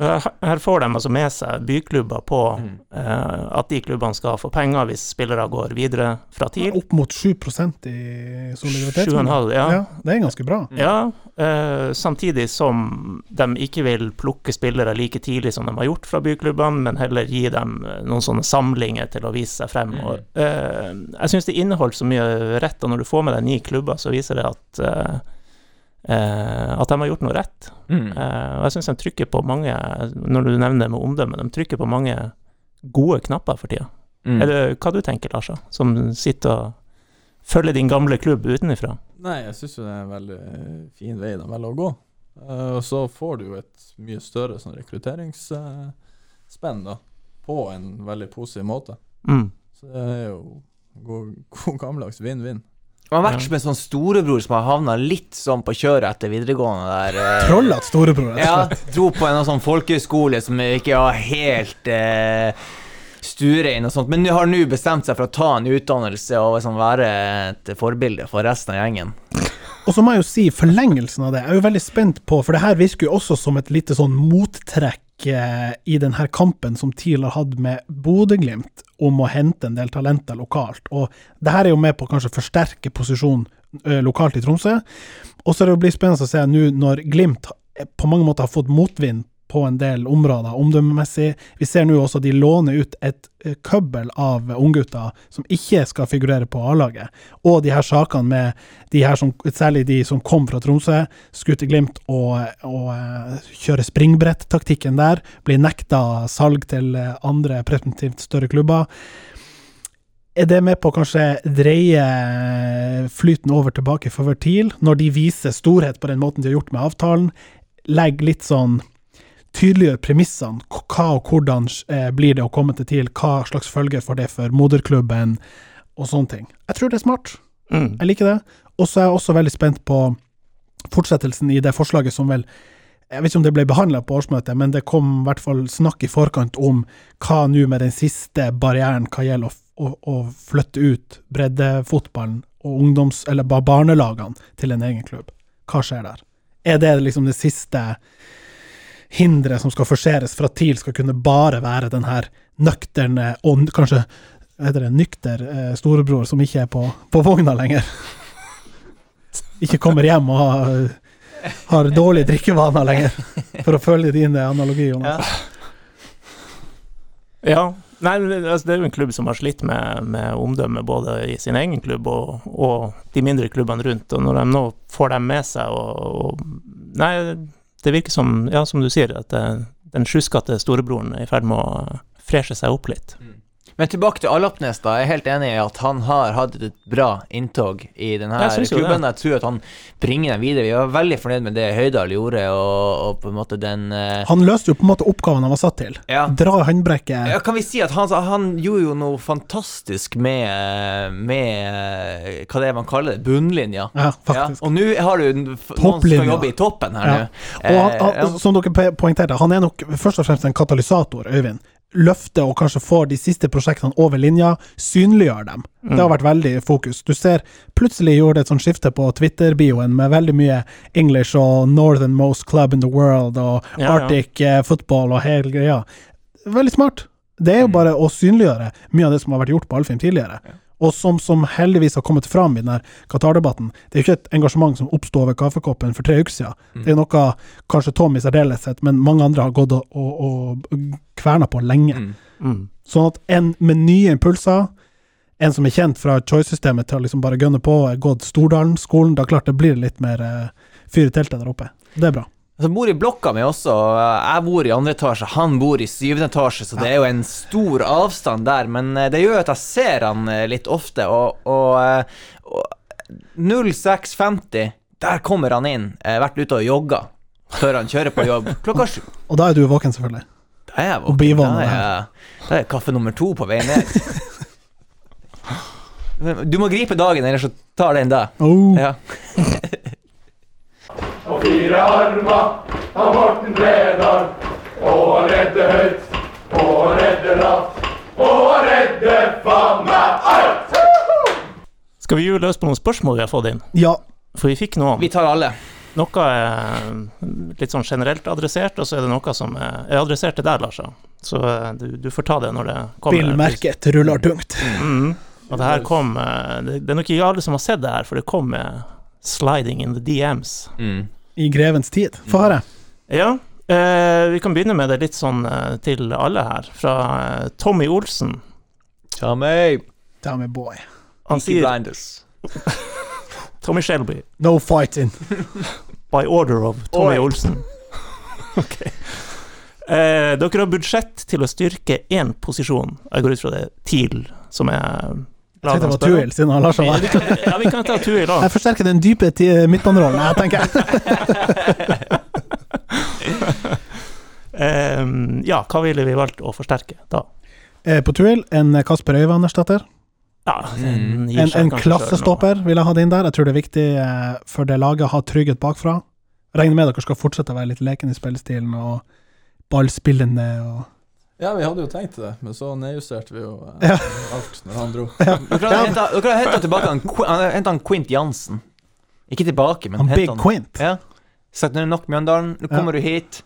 A: Eh, Her får de altså med seg byklubber på
D: Mm.
A: eh, at de klubbene skal få penger hvis spillere går videre fra TIL.
B: Opp mot 7 i solidaritet.
A: 7,5, ja.
B: Ja, det er ganske bra.
A: Ja, eh, samtidig som de ikke vil plukke spillere like tidlig som de har gjort fra byklubbene, men heller gi dem eh, noen sånne samlinger til å vise seg frem. Og, eh, jeg syns det inneholdt så mye rett, og når du får med deg ni klubber, så viser det at eh, eh, at de har gjort noe rett.
C: Mm.
A: Eh, og jeg syns de trykker på mange, når du nevner det med omdømme, de trykker på mange gode knapper for tida.
C: Mm.
A: Er det hva du tenker, Larsa, som sitter og følger din gamle klubb utenfra?
D: Nei, jeg syns jo det er en veldig eh, fin vei de velger å gå. Eh, og så får du jo et mye større sånn rekrutteringsspenn, eh, da, på en veldig positiv måte.
A: Mm.
D: Så det er jo god, god gammeldags vinn-vinn.
C: Man har vært som en sånn storebror som har havna litt sånn på kjøret etter videregående der. eh,
B: Trollete storebror, rett og
C: Ja,
B: slett.
C: dro på en sånn folkehøyskole som ikke var helt eh, stuerein og sånt, men har nå bestemt seg for å ta en utdannelse og liksom være et forbilde for resten av gjengen.
B: Og så må jeg jo si forlengelsen av det. Jeg er jo veldig spent på, for det her virker jo også som et lite sånn mottrekk eh, i den her kampen som TIL har hatt med Bodø-Glimt om å hente en del talenter lokalt. Og det her er jo med på å kanskje forsterke posisjonen eh, lokalt i Tromsø. Og så er det jo blir spennende å se nå når Glimt ha- eh, på mange måter har fått motvind på en del områder, omdømmemessig. Vi ser nå også de låner ut et eh, købbel av unggutter som ikke skal figurere på A-laget. Og de her sakene med de her som, særlig de som kom fra Tromsø, skulle til Glimt og, og eh, kjøre springbretttaktikken der, blir nekta salg til eh, andre presumptivt større klubber. Er det med på å kanskje dreie eh, flyten over tilbake for TIL, når de viser storhet på den måten de har gjort med avtalen? Legg litt sånn Tydeliggjør premissene. K- Hva og hvordan eh, blir det å komme til TIL? Hva slags følger får det for moderklubben, og sånne ting. Jeg tror det er smart.
A: Mm.
B: Jeg liker det. Og så er jeg også veldig spent på fortsettelsen i det forslaget som vel Jeg vet ikke om det ble behandla på årsmøtet, men det kom i hvert fall snakk i forkant om hva nå med den siste barrieren hva gjelder å, f- å, å flytte ut breddefotballen og ungdoms- eller ba- barnelagene til en egen klubb. Hva skjer der? Er det liksom det siste hinderet som skal forseres for at TIL skal kunne bare være den her nøkterne og n- kanskje hva heter det, nykter eh, storebror som ikke er på, på vogna lenger. Ikke kommer hjem og har, har dårlige drikkevaner lenger, for å følge din eh, analogi. Jonas.
A: Ja. Nei, men altså, det er jo en klubb som har slitt med, med omdømme både i sin egen klubb og, og de mindre klubbene rundt. Og når de nå får dem med seg og, og Nei, det virker som, ja, som du sier, at eh, den sjuskete storebroren er i ferd med å freshe seg opp litt.
C: Men tilbake til Alapnes, da. Jeg er helt enig i at han har hatt et bra inntog i denne
A: Jeg synes jo det.
C: klubben. Jeg tror at han bringer dem videre. Vi var veldig fornøyd med det Høydal gjorde, og, og på en måte den eh,
B: Han løste jo på en måte oppgaven han var satt til.
C: ja.
B: Dra i håndbrekket.
C: ja, kan vi si at han, han gjorde jo noe fantastisk med, eh, med eh, Hva det er man kaller det? Bunnlinja.
B: Ja, faktisk.
C: Ja, og nå har du en- f- noen som
B: Topplinja.
C: skal jobbe i toppen her
B: Ja.
C: nå.
B: Og han,
C: Eh, ja.
B: han, som dere pe- poengterte, han er nok først og fremst en katalysator, Øyvind. Løfte og kanskje får de siste prosjektene over linja, synliggjør dem. Det har vært veldig fokus. Du ser plutselig gjorde det et sånt skifte på Twitter-bioen med veldig mye English og Northern Most Club in the World og
A: Ja, ja.
B: Arctic eh, football og hele greia. Veldig smart. Det er jo bare å synliggjøre mye av det som har vært gjort på Alfheim tidligere. Og som, som heldigvis har kommet fram i denne Qatar-debatten. Det er jo ikke et engasjement som oppsto over kaffekoppen for tre uker siden. Det er noe kanskje Tom i særdeleshet, men mange andre har gått og, og, og kverna på lenge.
C: Mm.
A: Mm.
B: Sånn at en med nye impulser, en som er kjent fra Choice-systemet til å liksom bare gønne på, er gått Stordalen-skolen, da klart det blir litt mer eh, fyr i teltet der oppe. Det er bra.
C: Altså, bor i blokka mi også. eh, Jeg bor i andre etasje, han bor i syvende etasje, så det er jo en stor avstand der. Men eh, det gjør jo at jeg ser han eh, litt ofte, og, og, eh, og 06.50, der kommer han inn. Jeg har vært ute og jogga før han kjører på jobb klokka sju.
B: Og da er du våken, selvfølgelig.
C: Da er jeg
B: Og
C: våken.
B: bivåner
C: Da er jeg, da er kaffe nummer to på vei ned. Men Du må gripe dagen, ellers så tar den deg.
B: Oh.
C: Ja.
F: og fire armer av Morten Bredal. Og redde høyt, og redde lavt, og redde faen meg alt!
A: Skal vi jule løs på noen spørsmål vi har fått inn?
B: Ja,
A: For vi fikk noen.
C: Vi tar alle.
A: Noe er litt sånn generelt adressert, og så er det noe som eh, er er adressert til deg, Lars. ja. Så eh, du, du får ta det når det kommer.
B: bilmerket ruller tungt.
A: Mm. Og det her kom eh, Det det er nok ikke alle som har sett det her, for det kom med sliding in the DMs.
B: I grevens tid. Få høre.
A: Ja, eh, vi kan begynne med det litt sånn eh, til alle her. Fra eh, Tommy Olsen.
C: Ta meg.
B: Damn it, boy.
A: Han sier
C: Blinders.
A: Tommy Shelby.
B: No fighting.
A: By order of Tommy Olsen. ok. Eh, dere har budsjett til å styrke én posisjon. Jeg går ut fra det er TIL, som er
B: Jeg tenkte det var Tuil, siden han lar seg være.
A: Ja, vi kan ta Tuil òg.
B: Jeg forsterker den dype ti- midtbanerollen, jeg tenker jeg.
A: Ehm, ja, hva ville vi valgt å forsterke da?
B: Eh, På Tuil, en Kasper Øyvann-erstatter.
A: Ja,
C: Mm.
A: den gir
B: En,
A: seg
B: en
A: kanskje
B: klassestopper vil jeg ha det inn der. Jeg tror det er viktig eh, for det laget å ha trygghet bakfra. Regner med dere skal fortsette å være litt leken i spillestilen og ballspillende og
D: Ja, vi hadde jo tenkt det, men så nedjusterte vi jo eh,
B: Ja.
D: alt når han dro.
C: Dere har henta- dere har henta tilbake han, Qu- han, hentet han Quint Jansen. Ikke tilbake, men
B: Han
C: sånn- hentet
B: Big Quint.
C: Ja. Sagt nå er det nok Mjøndalen, nå kommer du hit.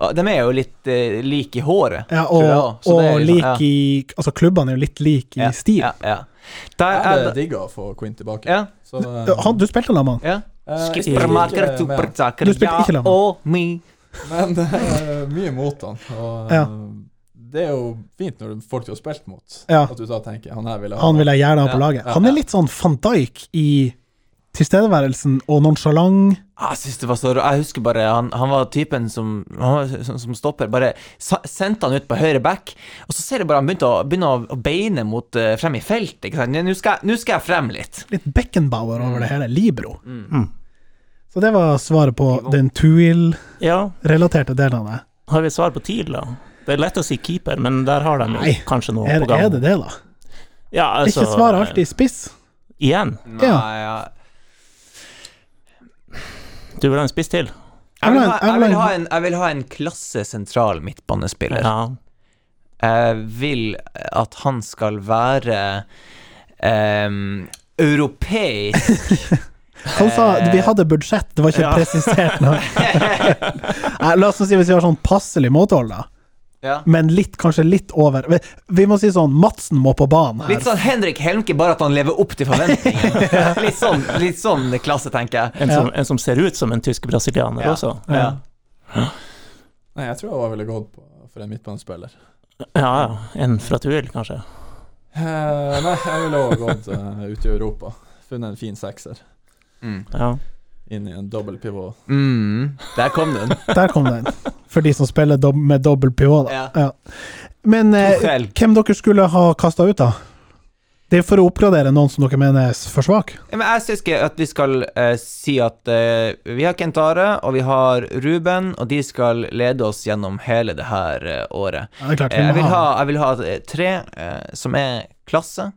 C: Ja, De er jo litt eh, like i håret.
B: Ja,
C: tror jeg
B: og,
C: også, så det er
B: og
C: liksom-
B: lik
C: ja.
B: i Altså, klubbene er jo litt like i
C: Ja,
B: stil.
C: Ja, ja. Der
D: Jeg
C: er
D: hadde
C: det
D: digga å få Quint tilbake.
C: ja,
D: Så, eh,
B: Du- Han, du spilte sammen med han.
C: ja.
D: eh, jeg spilte ikke med
C: Supermaker,
D: han,
C: supertaker,
B: Du spilte
C: ja,
B: ikke lavmål.
C: og me.
D: Men det er mye mot han. Og eh,
B: Ja.
D: det er jo fint når det er folk du har spilt mot,
B: Ja.
D: at du da tenker han her vil jeg ha.
B: Han vil jeg gjerne ha på
C: Ja,
B: laget.
D: ja,
B: Han
D: ja.
B: er litt sånn van Dijk i tilstedeværelsen og nonchalant.
C: Ah, Jeg synes det var så rå- Jeg husker bare han, han var typen som, han var, som, som stopper. Bare sa, sendte han ut på høyre back, og så ser du bare han begynte å, begynne å, å beine mot eh, frem i felt. Ikke sant? Nå skal, jeg- nå skal jeg frem litt.
B: Litt Beckenbauer
C: Mm.
B: over det hele. Libro.
A: Mm.
B: Så det var svaret på den Tuil-relaterte
A: noe. Ja,
B: delen av det.
A: har vi et svar på TIL, da? Det er lett å si keeper, men der har de jo
B: Nei,
A: kanskje noe
B: Er,
A: på gang.
B: er det det, da?
A: Ja, altså,
B: ikke svar alltid spiss.
A: Igjen.
B: Ja.
C: Nei, ja.
A: Du vil ha en spiss til?
C: Jeg vil, ha,
B: Jeg
C: jeg,
B: vil ha en-
C: vil ha en, jeg vil ha en klassesentral midtbanespiller.
A: Ja.
C: Jeg vil at han skal være ehm, europeisk
B: Han sa vi hadde budsjett, det var ikke
A: Ja.
B: presisert noe. Nei, La oss nå si hvis vi har sånn passelig måtehold, da.
C: ja.
B: Men litt, kanskje litt over Vi, vi må si sånn Madsen må på banen her.
C: Litt sånn Henrik Helmke, bare at han lever opp til forventningene. Litt sånn, litt sånn klasse, tenker jeg.
A: En, som, en som ser ut som en tysk-brasilianer
C: Ja.
A: også?
C: Ja.
D: Nei, jeg tror jeg ville gått på for en midtbanespiller.
A: Ja, ja. En fra TUIL, kanskje?
D: Eh, nei, jeg ville også gått eh, ut i Europa. Funnet en fin sekser
C: Mm.
A: Ja.
D: inn i en dobbel pivot.
C: Mm, der kom den.
B: Der kom den. For de som spiller dob med dobbel pivå, da.
C: Ja.
B: Ja. Men eh,
C: Tuchel.
B: hvem dere skulle ha kasta ut, da? Det er for å oppgradere noen som dere mener er s- for svak.
C: Ja, Men jeg syns ikke at vi skal eh, si at eh, vi har Kentare og vi har Ruben, og de skal lede oss gjennom hele det her eh, året.
B: Ja, det er klart,
C: Eh,
B: vi
C: jeg,
B: må
C: vil ha,
B: ha
C: jeg vil ha eh, tre eh, som er klasse,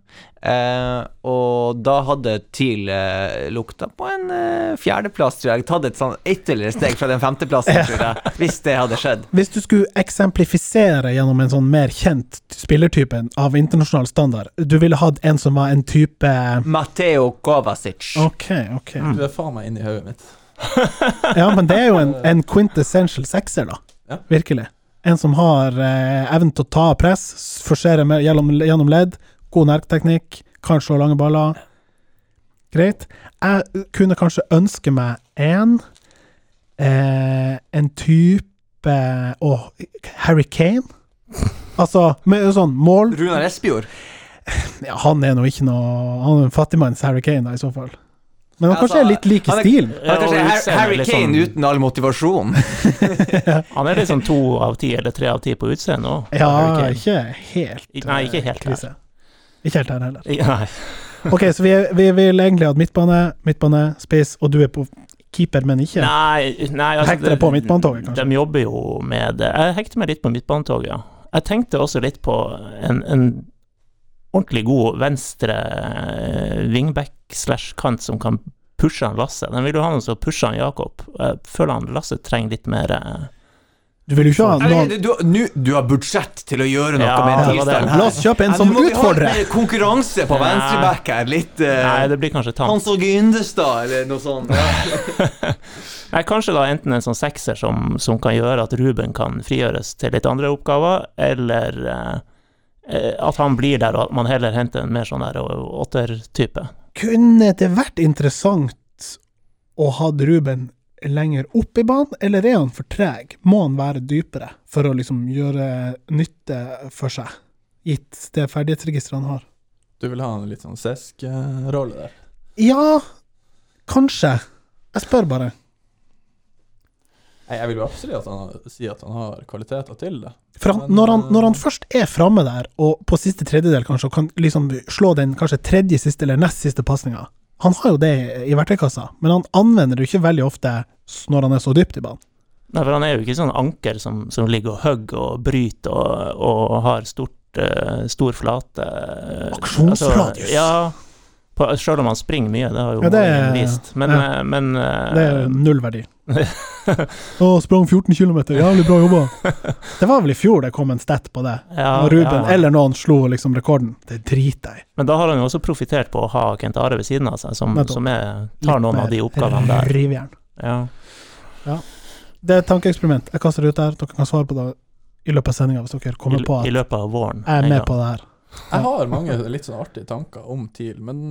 C: eh, og da hadde TIL eh, lukta på en eh, fjerdeplass, tror jeg. Tatt et sånn ytterligere steg fra den femteplassen, tror jeg, hvis det hadde skjedd.
B: Hvis du skulle eksemplifisere gjennom en sånn mer kjent spillertype av internasjonal standard, du ville hatt en som var en type
C: Matteo Kovacic.
B: Ok, ok.
D: Du er faen meg inni hodet mitt.
B: Ja, men det er jo en, en quintessential sekser, da.
D: Ja.
B: Virkelig. En som har eh, evnen til å ta press, s- forsere med, gjennom, gjennom ledd, god nerkteknikk, kan slå lange baller. Greit. Jeg kunne kanskje ønske meg en eh, En type Åh, Harry Kane? Altså, med sånn mål
C: Runar Espejord.
B: ja, Han er nå ikke noe Han er en fattigmanns Harry Kane, da, i så fall. Men han kanskje
C: Altså,
B: er litt lik i
C: han er-
B: stilen.
C: Han er
A: Ja, og
C: kanskje Har-
A: utseendet
C: Harry
A: litt
C: Kane
A: sånn-
C: uten all motivasjon.
A: Han er liksom to av ti eller tre av ti på utseendet òg.
B: Ja, ikke helt eh,
A: Nei, ikke helt der.
B: krise. Ikke helt her heller.
A: Nei.
B: Ok, så vi, er, vi vil egentlig ha midtbane, midtbane, spiss, og du er på keeper, men ikke.
A: Nei, nei altså,
B: Hekter deg på midtbanetoget, kanskje?
A: De jobber jo med det. Jeg hekter meg litt på midtbanetoget, ja. Jeg tenkte også litt på en, en ordentlig god venstre eh, wingback slash kant som kan pushe han Lasse. Den vil jo ha noen som pusher han Jakob. Jeg føler han Lasse trenger litt mer eh,
B: Du vil jo ikke ha
C: Eller,
B: noen
C: Du, du, nu- du har budsjett til å gjøre noe
A: Ja,
C: med
A: det var det.
C: tilstanden
B: La oss kjøpe en
C: Ja,
B: som
C: nå må vi ha
B: utfordrer!
C: litt mer Konkurranse på venstreback her. Litt
A: Nei,
C: eh,
A: det blir kanskje tamt.
C: Hans Åge Yndestad eller noe sånt. Ja.
A: Nei, kanskje da enten en sånn sekser som, som kan gjøre at Ruben kan frigjøres til litt andre oppgaver, eller eh, eh, at han blir der, og at man heller henter en mer sånn der eh, åtter-type.
B: Kunne det vært interessant å ha Ruben lenger opp i banen, eller er han for treg? Må han være dypere for å liksom gjøre nytte for seg, gitt det ferdighetsregisteret han har?
D: Du vil ha en litt sånn Sesk-rolle der.
B: Ja, kanskje. Jeg spør bare.
D: Nei, Jeg vil jo absolutt at han, har- si at han har kvaliteter til det.
B: For han,
D: Men,
B: når, han,
D: eh,
B: når han først er framme der, og på siste tredjedel kanskje, og kan liksom slå den kanskje tredje siste eller nest siste pasninga Han har jo det i verktøykassa, men han anvender det jo ikke veldig ofte s- når han er så dypt i banen.
A: Nei, for han er jo ikke sånn anker som, som ligger og hugger og bryter og, og har stort, eh, stor flate. Altså,
B: Aksjonsradius.
A: ja, på, selv om han springer mye, det har jo
B: Ja, det er-
A: målingen vist. Men,
B: ja.
A: eh, men eh,
B: Det er null verdi. Å, sprang 14 km, jævlig bra jobba. Det var vel i fjor det kom en stat på det,
A: ja,
B: når Ruben
A: ja.
B: eller noen slo liksom rekorden. Det driter jeg i.
A: Men da har han jo også profitert på å ha Kent Are ved siden av seg, som,
B: Nettopp.
A: som er, tar noen av de oppgavene
B: Litt mer
A: der.
B: Rivjern.
A: Ja.
B: Det er et tankeeksperiment. Jeg kaster det ut der. Dere kan svare på det i løpet av sendinga hvis dere
A: I,
B: kommer på at
A: I
B: jeg
A: løpet av våren.
B: er
A: en
B: med
A: gang.
B: på det her.
D: Jeg har mange litt sånn artige tanker om TIL, men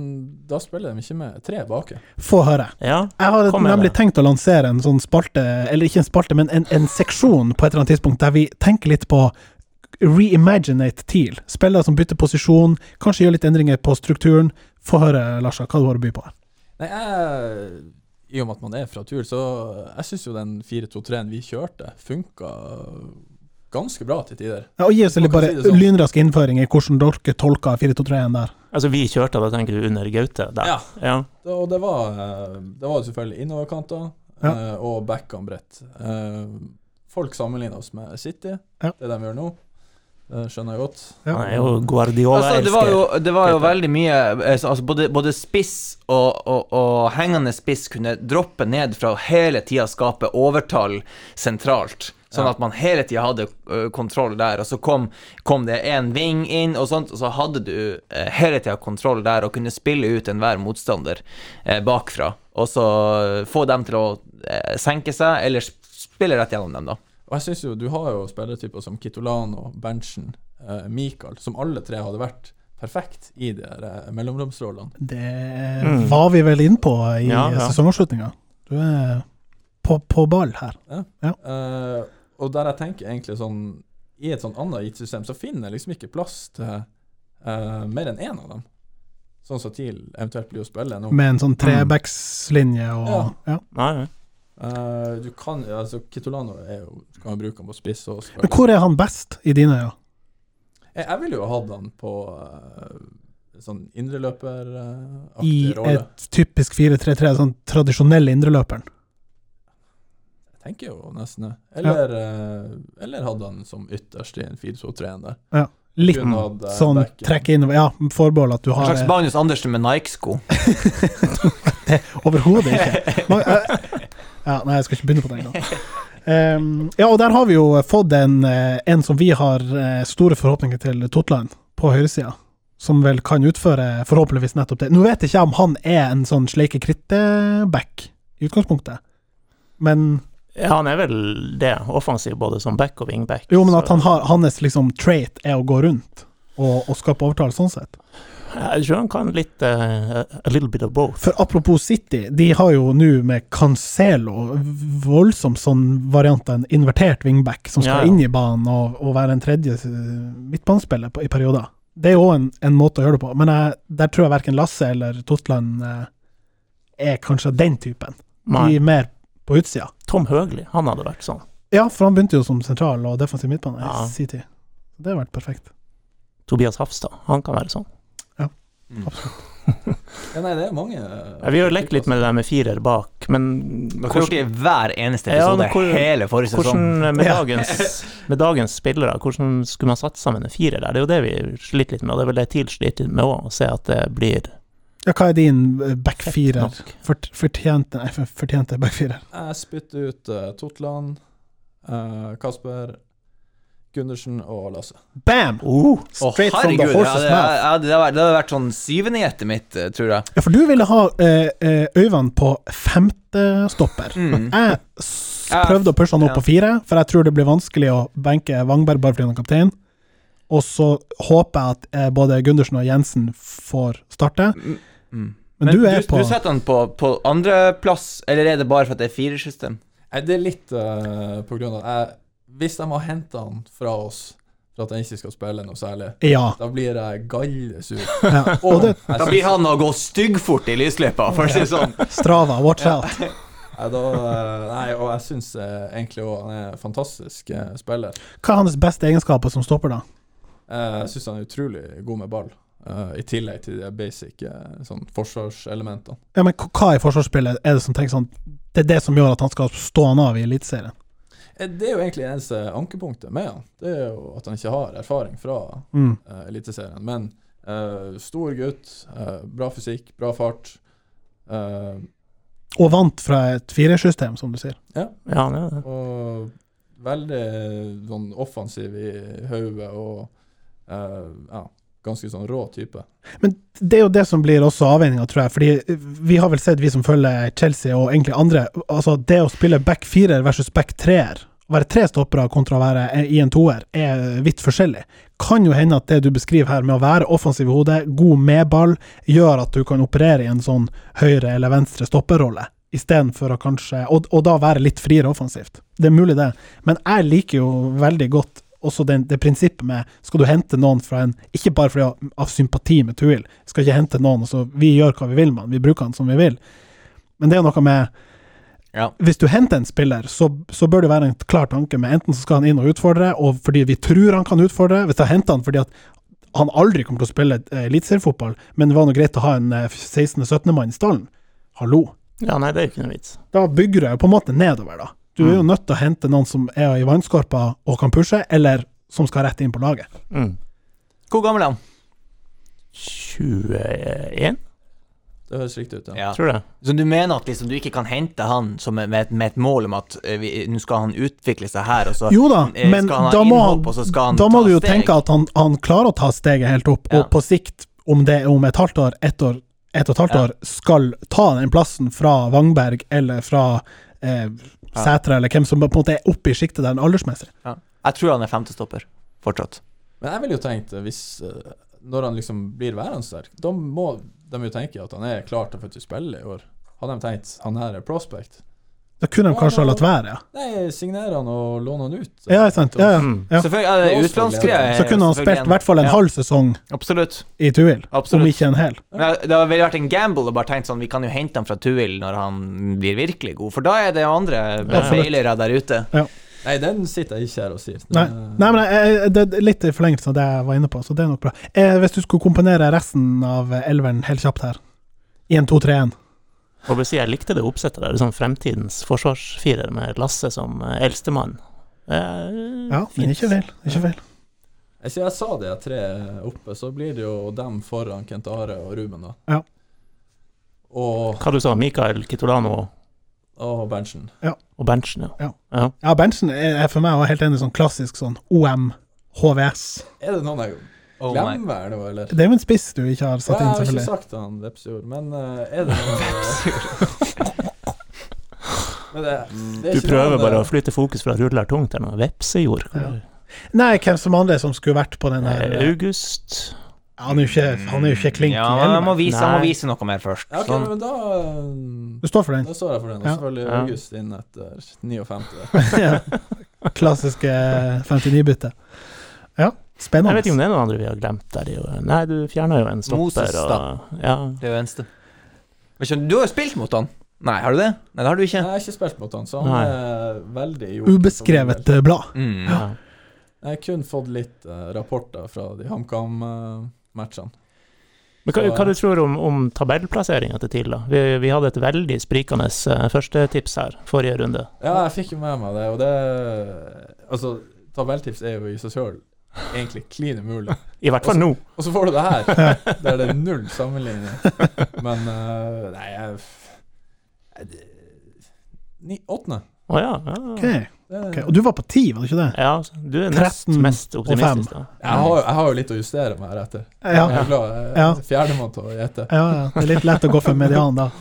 D: da spiller de ikke med tre baki.
B: Få høre.
A: Ja,
B: Jeg har
A: Kom med
B: nemlig
A: det.
B: tenkt å lansere en sånn spalte, eller ikke en spalte, men en, en seksjon på et eller annet tidspunkt der vi tenker litt på reimaginate TIL. Spillere som bytter posisjon, kanskje gjør litt endringer på strukturen. Få høre, Larsa, hva du har å by på. her.
D: Nei, jeg I og med at man er fra tur, så jeg syns jo den 4-2-3-en vi kjørte, funka ganske bra til tider.
B: Ja, og gi oss
D: Man
B: litt
D: kan
B: bare
D: si det sånn.
B: lynrask innføring i hvordan dere tolker 4-2-3-en der.
A: altså vi kjørte, da tenker du under Gaute der.
D: Ja.
A: ja.
D: Da- Og det var, eh, det var jo selvfølgelig innoverkanter
B: Ja.
D: eh, og backhand bredt. Eh, Folk sammenligner oss med City,
B: Ja.
D: det de gjør nå. Det skjønner jeg godt.
B: Ja.
A: Han er jo
C: Altså, det var
A: Guardiola-elsker.
C: jo, det var jo
A: Helt
C: veldig mye eh, så- altså, både, både spiss og, og, og hengende spiss kunne droppe ned fra å hele tida skape overtall sentralt. Sånn
D: Ja.
C: at man hele tida hadde eh, kontroll der. Og så kom, kom det én ving inn, og sånt, og så hadde du eh, hele tida kontroll der og kunne spille ut enhver motstander eh, bakfra. Og så eh, få dem til å eh, senke seg, eller sp- spille rett gjennom dem, da.
D: Og jeg synes jo, du har jo spillertyper som Kitolano, Berntsen, eh, Michael, som alle tre hadde vært perfekt i de der eh, mellomromsrollene.
B: Det
A: Mm.
B: var vi vel inne på i
A: Ja, ja.
B: sesongavslutninga. Du er på, på ball her.
D: Eh, og der jeg tenker egentlig sånn I et sånn annet gitt system så finner jeg liksom ikke plass til eh, mer enn én av dem. Sånn som TIL eventuelt blir å spille nå.
B: Med en
A: Mm.
B: sånn trebackslinje og ja.
A: Nei, nei.
D: Eh, du kan altså Kitolano er jo, du kan jo bruke han på spiss og spille.
B: Men hvor er han best i dine øyne?
D: Jeg, jeg ville jo hatt han på eh, sånn indreløperaktig
B: I
D: rolle.
B: et typisk 4-3-3, sånn tradisjonell indreløperen?
D: Jeg tenker jo nesten det. Eller, eh, eller hadde han som ytterst i en 4-2-3-en der.
B: Litt
D: Kun hadde, eh,
B: sånn
D: backen.
B: trekke innover Ja, forbehold at du
C: En
B: har eh,
C: slags Magnus Andersen med Nike-sko.
B: Overhodet ikke. Man, eh, ja, nei, jeg skal ikke begynne på det engang. Ehm, ja, og der har vi jo fått en, eh, en som vi har eh, store forhåpninger til, Totland, på høyresida. Som vel kan utføre forhåpentligvis nettopp det. Nå vet jeg ikke om han er en sånn sleike kritte-back i utgangspunktet, men
A: Ja, han er vel det, offensiv både som back og wingback.
B: jo, men at
A: så-
B: han har, hans liksom trait er å gå rundt og, og skape overtall sånn sett.
A: Jeg tror han kan litt eh, A little bit of both.
B: For apropos City, de har jo nå med Cancelo voldsom sånn variant av en invertert wingback som skal
A: Ja, ja.
B: inn i banen og, og være en tredje eh, midtbanespiller på, i perioder. Det er jo òg en, en måte å gjøre det på, men jeg, der tror jeg verken Lasse eller Totland eh, er kanskje den typen. De
A: Nei,
B: er mer på utsida.
A: Tom Høgli, han hadde vært sånn.
B: Ja, for han begynte jo som sentral og defensiv midtbane
A: Ja.
B: i sin tid. Det har vært perfekt.
A: Tobias Hafstad, han kan være sånn.
D: Ja, nei, det er mange eh,
A: Ja, vi har jo lekt litt med det der med firer bak, men
C: Dere har gjort det i hver eneste
A: Ja,
C: episode
A: men hvor-
C: hele forrige sesong.
A: hvordan med
B: Ja.
A: dagens, med dagens spillere, hvordan skulle man satt sammen en firer der? Det er jo det vi sliter litt med, og det er vel det TIL sliter litt med òg, å se at det blir
B: Ja, hva er din eh, back
A: Fett
B: firer?
A: nok.
B: Fort, fortjente, nei, for- fortjente back firer?
D: Jeg spytter ut eh, Totland, eh, Kasper, Gundersen og Lasse.
B: Bam!
A: Uh,
C: Å,
B: Straight from the
C: herregud, ja,
B: horse's
C: det,
B: mouth.
C: ja, det, har vært, det har vært sånn syvendehjertet mitt, eh, tror jeg.
B: Ja, for du ville ha eh, eh, Øyvand på femtestopper.
C: Mm.
B: Jeg s- prøvde å pushe han opp
C: Ja.
B: på fire, for jeg tror det blir vanskelig å benke Wangberg bare fordi han er kaptein. Og så håper jeg at eh, både Gundersen og Jensen får starte.
C: Mm.
B: Men, du er på
C: du setter han på, på andreplass, eller er det bare for at det er firersystem?
D: Nei, det er litt eh, på grunn av jeg, Hvis de har henta han fra oss for at han ikke skal spille noe særlig,
B: Ja.
D: da blir jeg gallesur.
B: ja. Og det
D: Jeg
C: Da
D: synes-
C: blir han å gå styggfort i lysløypa, for å si det sånn.
B: Strava, watch out.
D: Nei, da, eh, nei, og jeg syns egentlig òg han er en fantastisk eh, spiller.
B: Hva er hans beste egenskaper som stopper, da?
D: Eh, Jeg syns han er utrolig god med ball, eh, i tillegg til de basic eh, sånn forsvarselementene.
B: Ja, men k- Hva i forsvarsspillet er det som tenker sånn Det er det som gjør at han skal stå han av i Eliteserien?
D: Eh, Det er jo egentlig eneste ankepunktet med han. Det er jo at han ikke har erfaring fra
B: Mm.
D: eh, Eliteserien. Men eh, stor gutt, eh, bra fysikk, bra fart. eh,
B: Og vant fra et firersystem, som du sier.
A: Ja, han er det.
D: og veldig sånn offensiv i hodet og eh, ja, ganske sånn rå type.
B: Men det er jo det som blir også avveininga, tror jeg. Fordi vi har vel sett, vi som følger Chelsea og egentlig andre, altså det å spille back firer versus back treer, å være tre stoppere kontra å være i en toer, er vidt forskjellig. Kan jo hende at det du beskriver her, med å være offensiv i hodet, god med ball, gjør at du kan operere i en sånn høyre- eller venstre stopperrolle, istedenfor å kanskje og, og da være litt friere offensivt. Det er mulig, det. Men jeg liker jo veldig godt også den, det prinsippet med skal du hente noen fra en Ikke bare fordi av, av sympati med Tuil, skal ikke hente noen og så Vi gjør hva vi vil med han, vi bruker han som vi vil. Men det er noe med
C: Ja.
B: Hvis du henter en spiller, så, så bør det være en klar tanke med enten så skal han inn og utfordre, og fordi vi tror han kan utfordre Hvis jeg henter han fordi at han aldri kommer til å spille eh, eliteseriefotball, men det var nå greit å ha en eh, 16.-17.-mann i stallen. Hallo.
A: Ja, nei, det er jo ikke noe vits.
B: Da bygger du jo på en måte nedover, da. Du
C: Mm.
B: er jo nødt til å hente noen som er i vannskorpa og kan pushe, eller som skal rett inn på laget.
A: Mm.
C: Hvor gammel er han?
A: 21,
D: Det høres riktig ut, ja.
C: Ja.
A: tror jeg.
C: Så du mener at liksom, du ikke kan hente han som er- med, et- med et mål om at eh, vi- nå skal han utvikle seg her, og så
B: Jo da,
C: eh,
B: men
C: skal han ha
B: da må,
C: innhopp, og så skal han
B: da må
C: ta
B: du jo
C: steg.
B: tenke at han, han klarer å ta steget helt opp,
C: Ja.
B: og på sikt, om det er om et halvt år, ett år, ett og et halvt
C: Ja.
B: år, skal ta den plassen fra Vangberg eller fra eh, Sætre, eller hvem som på en måte er oppe i sjiktet der aldersmessig.
C: ja. Jeg tror han er femtestopper fortsatt.
D: Men jeg ville jo tenkt, eh, hvis eh, når han liksom blir værende der, da må de jo tenke at han er klar til å faktisk spille i år. Hadde de tenkt han her er prospect,
B: Da kunne de kanskje ha latt være, ja.
D: Nei, signer han og låner han ut.
B: Ja, ikke sant. Ja, ja,
A: Mm.
B: ja.
C: Selvfølgelig, ja, det er utenlandsgreia er
B: Så kunne han
C: selvfølgelig
B: spilt
C: en-
B: i hvert fall en
C: Ja.
B: halv sesong
C: Absolutt.
B: i Tuil, om
C: Absolutt.
B: ikke en hel.
C: Men Det det ville vært en gamble og bare tenkt sånn Vi kan jo hente han fra Tuil når han blir virkelig god, for da er det jo andre
B: Absolutt.
C: beilere der ute.
D: Nei, den sitter jeg ikke her og sier. Den,
B: Nei,
D: eh,
B: Nei men jeg, jeg- det er litt i forlengelse av det jeg var inne på, så det er nok bra. Eh, hvis du skulle komponere resten av elveren helt kjapt her 1, 2, 3, 1.
A: Og jeg, si, jeg likte det oppsettet der, sånn fremtidens forsvarsfirer med Lasse som eh, eldstemann.
D: Mm.
A: Eh,
B: Ja, men ikke feil. Ikke feil.
D: Jeg, sier, jeg sa det, jeg tre oppe, så blir det jo dem foran Kent Are og Ruben, da.
B: Ja.
D: Og,
A: Hva du sa Mikael Kitolano
D: og Berntsen.
A: og Berntsen, ja.
B: Ja. Ja, Berntsen er er for meg også helt enig sånn klassisk sånn OM, HVS.
D: Er det noen jeg
C: Oh my.
D: glemmer nå, eller?
B: Det er jo en spiss du ikke har
D: Ja,
B: satt
D: jeg
B: inn,
D: har ikke
B: selvfølgelig.
D: sagt han Vepsjord, men eh, er det noen Men det,
B: Mm.
D: det er
A: Du
D: ikke
A: prøver
D: noen,
A: bare
D: eh,
A: å flytte fokus fra ruller tungt til noe vepsejord.
B: Ja. Nei, hvem som andre som skulle vært på den
A: Eh,
B: her eh,
A: August
B: Han er jo ikke, han er jo ikke klink i
C: Ja, men han må
B: elveren.
C: vise, han må
A: Nei.
C: vise noe mer først.
D: Ja, ok,
C: Sånn.
D: men da, eh,
B: Du står for den.
D: da står jeg for den. Og
B: Ja.
D: selvfølgelig
A: Ja.
D: August inn etter 59.
B: Ja. Klassiske 59-bytte. Ja,
A: Jeg
B: spennende.
A: vet ikke om det er noen andre vi har glemt der. i år. Nei, du fjerna jo en stopper.
C: Moses, da.
A: Og, ja.
C: Det er jo eneste. Men skjønner, du har jo spilt mot han. Nei, har du det? Nei, det har du
D: Nei,
C: ikke.
D: Jeg har ikke spilt mot han, så han
A: Nei.
D: er veldig gjort.
B: Ubeskrevet eh, blad.
C: Mm.
A: Ja.
D: Jeg har kun fått litt eh, rapporter fra de HamKam-matchene.
A: Men hva,
D: Så-
A: hva du tror om, om tabellplasseringa til TIL, da? Vi, vi hadde et veldig sprikende eh, førstetips her forrige runde.
D: Ja, jeg fikk jo med meg det, og det Altså, tabelltips er jo i seg sjøl egentlig klin umulig.
A: I hvert fall nå.
D: Og så får du det her, der det er null sammenligning. Men eh, Nei, jeg jeg- det- Ni, åttende.
A: Å ja. ja.
B: Ok,
D: Det,
B: ok. Og du var på 10, var det ikke det?
A: Ja, så du er nest
B: 13
A: mest
B: og
A: optimistisk, da.
D: jeg, har, jeg har jo litt å justere meg her etter.
B: Ja.
D: Jeg
B: Ja,
D: er glad jeg
B: Ja.
D: er fjerdemann til å gjette.
B: ja. Det er litt lett å gå for median da.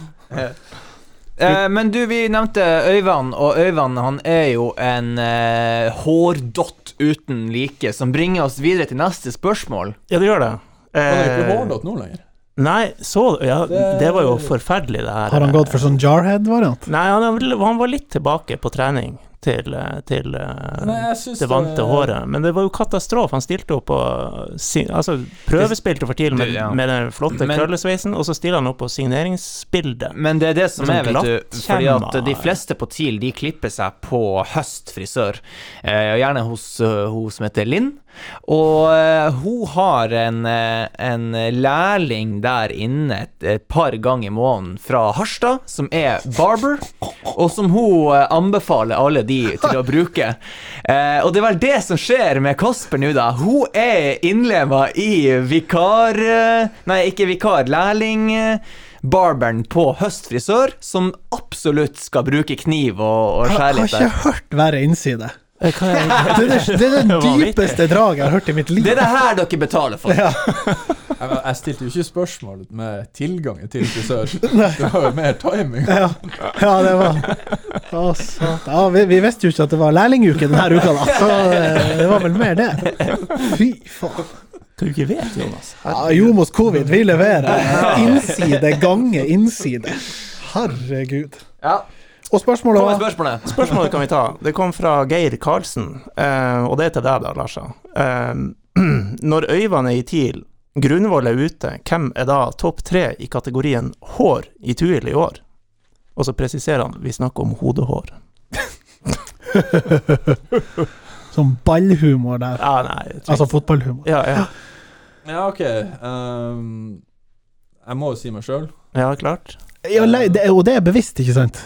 C: Eh, men du, vi nevnte Øyvand, og Øyvand han er jo en eh, hårdott uten like, som bringer oss videre til neste spørsmål.
A: Ja, det gjør det.
D: Han er jo ikke
A: Eh,
D: hårlått nå lenger.
A: Nei, så Ja,
D: Det-
A: det var jo forferdelig, det her.
B: Har han gått for sånn jarhead-variant?
A: Nei, han, er vel- han var litt tilbake på trening til, eh, til eh,
D: Nei, jeg synes
A: det vante håret. Men det var jo katastrofe. Han stilte opp og si- altså, prøvespilte for tidlig med,
C: Det- ja.
A: med den flotte
C: Men-
A: krøllesveisen, og så stiller han opp på signeringsbildet.
C: Men det er det som
A: Sånn
C: er, vet du. Fordi
A: glattkjemma.
C: at de fleste på TIL de klipper seg på høstfrisør. Eh, og gjerne hos eh, hun som heter Linn. Og eh, hun har en, eh, en lærling der inne et, et par ganger i måneden fra Harstad, som er barber, og som hun eh, anbefaler alle de til å bruke. Eh, og det er vel det som skjer med Kasper nå, da. Hun er innlema i vikar... eh, Nei, ikke vikar, lærling... eh, barberen på høstfrisør som absolutt skal bruke kniv og, og
B: Jeg
C: skjære
B: har
C: litt
B: ikke
C: der.
B: hørt verre innside.
A: Eh, hva er-
B: Det er det, det, er det
A: Vanvittig.
B: dypeste draget jeg har hørt i mitt liv.
C: Det er det her dere betaler for.
B: Ja.
D: Jeg, jeg stilte jo ikke spørsmål med tilgangen til frisør. Det var jo mer timing.
B: Ja, ja det var Å, satan. Ja, vi, vi visste jo ikke at det var lærlinguke denne uka, da. Så eh, det var vel mer det. Fy faen.
A: Hva du ikke vet, Jonas?
B: Ja, Jomos covid, vi leverer. Innside gange innside. Herregud.
C: Ja,
B: Og spørsmålet
C: Kom med
B: var
C: spørsmålet.
A: Spørsmålet kan vi ta. Det kom fra Geir Karlsen, eh, og det er til deg da, Larsa. Eh, når Øyvand er i TIL, Grunvoll er ute, hvem er da topp tre i kategorien hår i Tuil i år? Og så presiserer han, vi snakker om hodehår.
B: sånn ballhumor der.
A: Ja, nei, jeg tror-
B: Altså fotballhumor.
A: ja, ja,
D: Ja, OK. ehm, jeg må jo si meg sjøl.
A: ja, klart.
B: Ja, le- det, og det er bevisst, ikke sant?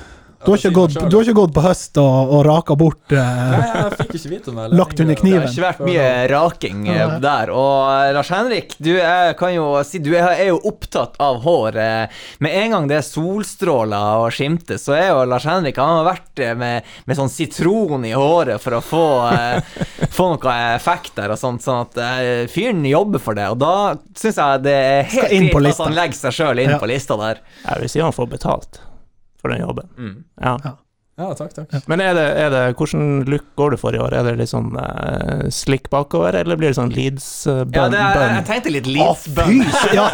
B: Du har ikke, gått, du har ikke gått på høst og, og raka bort eh,
D: Nei, jeg fikk ikke vite om det.
B: Lagt under
C: Det
B: kniven.
C: har ikke vært mye raking eh, der. Og eh, Lars Henrik, du er, kan jo si du er, er jo opptatt av hår. eh. Med en gang det er solstråler og skimter, så er jo Lars Henrik Han har vært eh, med, med sånn sitron i håret for å få, eh, få noe effekt der og sånt. Sånn at eh, fyren jobber for det. Og da syns jeg det er
B: Skal
C: helt
B: inn på
C: greit
B: lista.
C: at han legger seg sjøl inn
B: Ja.
C: på lista der.
A: Jeg vil si han får betalt for den jobben.
C: Mm.
A: Ja.
D: Ja, takk, takk.
A: Men er det, er det, hvordan look går du for i år? Er det litt sånn eh, slick bakover, eller blir det sånn Leeds-bønn?
C: Ja, det er, jeg tenkte litt
B: Å, fy
C: Leeds-bønn.
B: s- ja,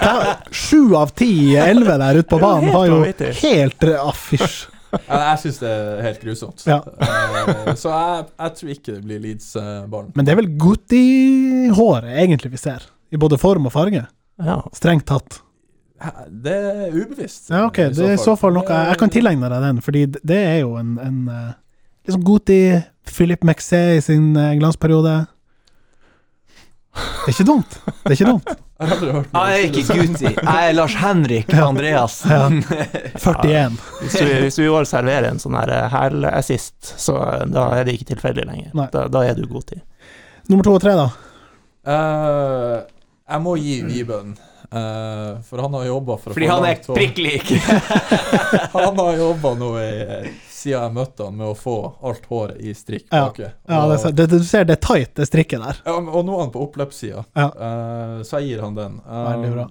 B: da- Sju av ti i elleve der ute på banen
A: helt
B: var jo
A: vanvittig.
B: helt affisj.
D: Jeg, jeg syns det er helt grusomt.
B: Ja.
D: Eh, så jeg, jeg tror ikke det blir Leeds-ballen.
B: Men det er vel godt i håret, egentlig, vi ser. I både form og farge.
A: Ja.
B: Strengt tatt.
D: det er ubevisst.
B: Ja, ok, det er i så fall noe Jeg kan tilegne deg den, fordi det det er jo en, en eh, liksom god i Philip Maxey i sin eh, glansperiode. Det er ikke dumt. Det er ikke dumt.
D: Jeg har aldri hørt noe
C: Jeg er ikke Guti, jeg er Lars Henrik Andreassen.
B: 41.
A: Hvis du, hvis du i år serverer en sånn her hæl-assist, så eh, da er det ikke tilfeldig lenger.
B: Nei.
A: Da, da er du god tid.
B: Nummer to og tre, da.
D: Eh, jeg må gi Viben. eh, for han har jobba for å
C: Fordi
D: få
C: han er
D: langt hår.
C: prikk lik.
D: Han har jobba nå i, siden jeg møtte han med å få alt håret i strikk
B: Ja.
D: baki.
B: Ja, det, er- det, du ser det er tight, det strikket der.
D: Ja, men- og nå er han på oppløpssida,
B: Ja.
D: Eh, så jeg gir han den. Eh,
B: Veldig bra.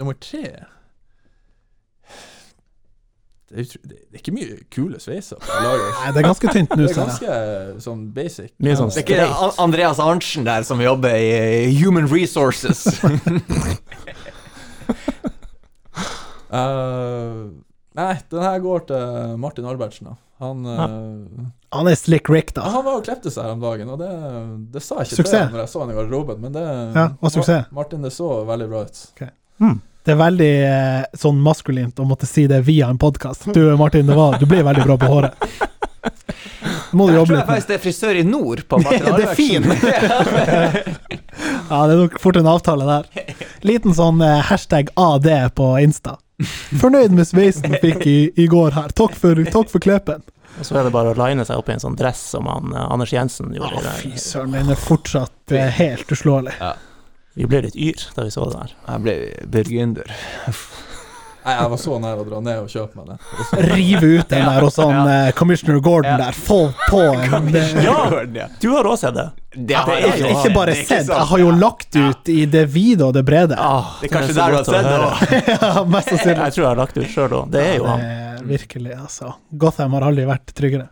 D: Nummer tre det er, utro- det er ikke mye kule sveiser på laget.
B: Nei, det er ganske tynt nå,
D: Det er
B: ser jeg.
D: ganske sånn basic. Eh,
A: Mye sånn
C: Det er ikke An- Andreas Arntzen der som jobber i eh, Human Resources.
D: Eh, nei, den her går til Martin Albertsen. Da. Han, eh,
B: Han er slick Rick,
D: ja,
B: da.
D: han var og klepte seg her om dagen, og det, det sa jeg ikke
B: Suksess.
D: til ham når jeg så han i garderoben, men det
B: Ja, og suksess.
D: Martin, det så veldig bra ut.
B: Det er veldig eh, sånn maskulint å måtte si det via en podkast. Du Martin, det var, du blir veldig bra på håret. Det må du
C: Jeg
B: jobbe
C: tror jeg
B: litt med.
C: faktisk det er frisør i nord på Martin
B: Det er
C: Albertsen.
B: Ja, det er nok fort en avtale der. Liten sånn eh, hashtag AD på Insta. Fornøyd med sveisen du fikk i, i går her. Takk for, takk for klepen.
A: Og så er det bare å line seg opp i en sånn dress som han, eh, Anders Jensen gjorde. i det her.
B: søren, den er fortsatt eh, helt uslåelig.
A: vi ble litt yr da vi så det der.
C: Jeg ble burgunder.
D: Nei, jeg var så nær å dra ned og kjøpe meg det. Og så-
B: Rive ut den der og sånn eh, Commissioner Gordon
C: Ja.
B: der. Få på en eh, det,
C: Ja!
A: Du har også sett det!
C: Det har
B: Jeg
C: jeg
B: har
C: jo.
B: ikke bare
C: Det er
B: sett, Ah,
C: sant.
B: jeg har jo lagt ut i det vide og det brede.
A: Ah,
C: Det er kanskje
A: så
C: der du har
A: godt å
C: sett det
A: høre.
C: også.
B: Ja, mest sannsynlig.
A: Jeg tror jeg har lagt det ut sjøl òg. Det er jo
B: Ja,
A: han.
B: det er virkelig, altså. Gotham har aldri vært tryggere.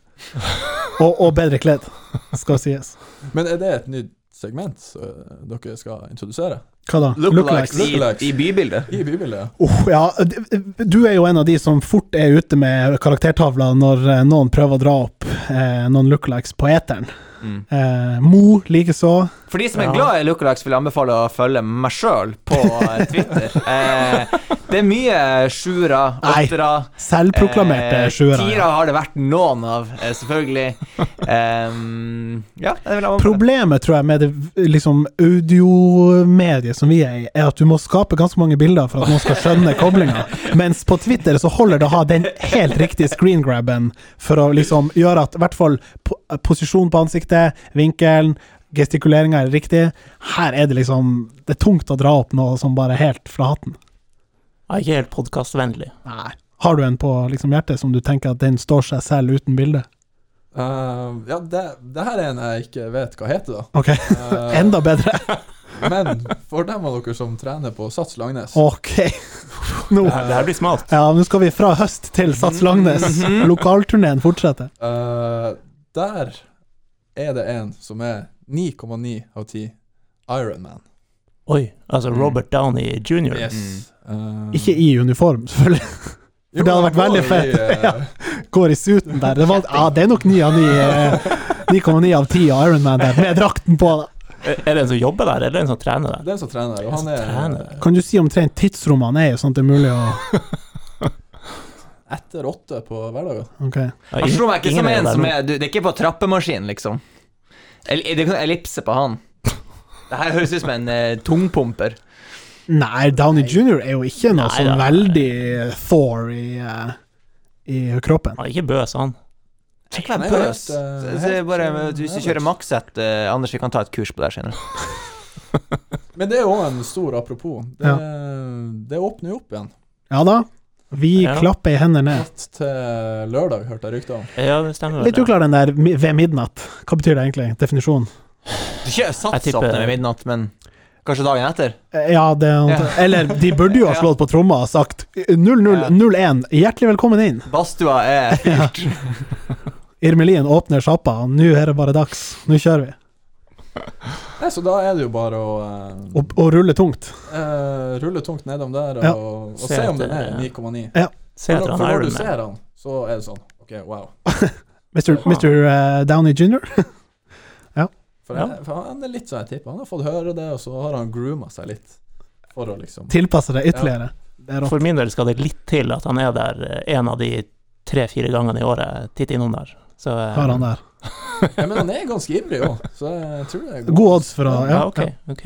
B: Og, og bedre kledd, skal sies.
D: Men er det et nytt segment eh, dere skal introdusere?
B: Hva da?
C: Lookalikes
B: Lookalikes?
C: i, i bybildet.
D: I bybildet?
B: Oh, ja, du er jo en av de som fort er ute med karaktertavla når eh, noen prøver å dra opp eh, noen lookalikes på eteren.
C: Mm.
B: Eh, Mo likeså.
C: For de som er
A: Ja.
C: glad i lookalikes, vil jeg anbefale å følge meg sjøl på eh, Twitter. Eh, det er mye sjuere,
B: Nei.
C: åttere
B: Selvproklamerte
C: eh,
B: sjuere.
C: Tiere
B: ja.
C: har det vært noen av, eh, selvfølgelig. Em, ja, det vil jeg anbefale.
B: Problemet tror jeg med det liksom, audiomediet som vi er i, er at du må skape ganske mange bilder for at noen skal skjønne koblinga. Mens på Twitter så holder det å ha den helt riktige screengrabben for å liksom gjøre at i hvert fall po eh, posisjon på ansiktet, vinkelen, gestikuleringa er riktig. Her er det liksom Det er tungt å dra opp noe som bare er helt fra hatten.
A: Jeg er ikke helt podkastvennlig.
B: Nei. Har du en på liksom hjertet som du tenker at den står seg selv uten bilde?
D: Eh, ja, det, det her er en jeg ikke vet hva heter, da.
B: Ok,
D: Eh,
B: enda bedre.
D: men for dem av dere som trener på Sats Langnes
B: Ok. Nå
A: Det her blir smalt.
B: Ja, nå skal vi fra høst til Sats Langnes.
A: Mhm.
B: Lokalturneen fortsetter.
D: eh, Der er det en som er 9,9 av 10 Ironman.
A: Oi, altså
C: Mm.
A: Robert Downey jr.
D: Yes. Eh,
B: Ikke i uniform, selvfølgelig.
D: jo,
B: det hadde vært
D: han går
B: veldig fett.
D: i, eh,
B: Går i suiten der. Det, var, ja, det er nok 9 av 9 eh, 9,9 av 10 Ironman der, med drakten på. Da.
A: Er er det en som jobber der, eller er det en som trener der?
D: Det er en som trener der, og han
A: trener
D: er
B: Kan du si omtrent tidsrommet han er i, sånn at det er mulig å
D: etter åtte på hverdager.
B: Ok.
A: Ja,
C: Han
A: ingen-
C: slo meg ikke
A: ingen
C: som
A: er
C: en
A: der
C: som
A: nå.
C: er du, Det er ikke på trappemaskin, liksom. El, det er ikke noen ellipse på han. Det her høres ut som en eh, tungpumper.
B: Nei, Downey Jr. er jo ikke noe
A: Nei,
B: sånn
A: da.
B: veldig Thor i, eh, i kroppen.
A: Han er ikke bøs, han.
C: Tenk å være
D: Nei,
C: bøs.
D: helt, eh,
C: Så- så
D: helt,
C: bare,
D: eh,
C: hvis du
D: helt.
C: kjører makssett eh, Anders, vi kan ta et kurs på det her senere.
D: Men det er jo en stor apropos. Det,
B: Ja.
D: det åpner jo opp igjen.
B: Ja da. Vi
A: Ja.
B: klapper i hendene ned.
D: Natt til lørdag, hørte jeg rykter om.
A: Ja, det stemmer. vel
B: Litt
A: det.
B: uklar den der mi- ved midnatt. Hva betyr det egentlig? Definisjonen?
C: Du kjører sats
A: Jeg
C: opp
A: tipper-
C: til midnatt, men kanskje dagen etter?
B: Eh, Ja, det, er
C: Ja.
B: Eller de burde jo ha slått på tromma og sagt 0001, hjertelig velkommen inn.
C: Badstua er fylt.
B: Irmelin åpner sjappa, og nå er det bare dags. Nå kjører vi.
D: Nei, så da er det jo bare å eh,
B: Og, og ruller tungt.
D: eh, rulle tungt nedom der og,
B: Ja.
D: og
A: Se
D: se om
A: etter,
D: den er
A: ja.
D: 9,9.
A: Se
D: For
A: etter
D: når-
A: han
D: for når du
A: Iron Man.
D: ser han, så er det sånn OK, wow.
B: Mr. Mr. eh, Downey jr.
D: For,
A: Ja.
D: jeg, for han er litt sånn jeg tipper. Han har fått høre det, og så har han grooma seg litt. For å liksom
B: tilpasser det ytterligere. Det er rått.
A: For min del skal det litt til at han er der eh, en av de tre-fire gangene i året. Titt innom der. Så, eh,
B: Har han der.
D: ja, Men han er ganske ivrig òg, så jeg tror det er
B: God odds for å
A: Ja,
B: ja,
A: ok.
B: ja.
A: ok.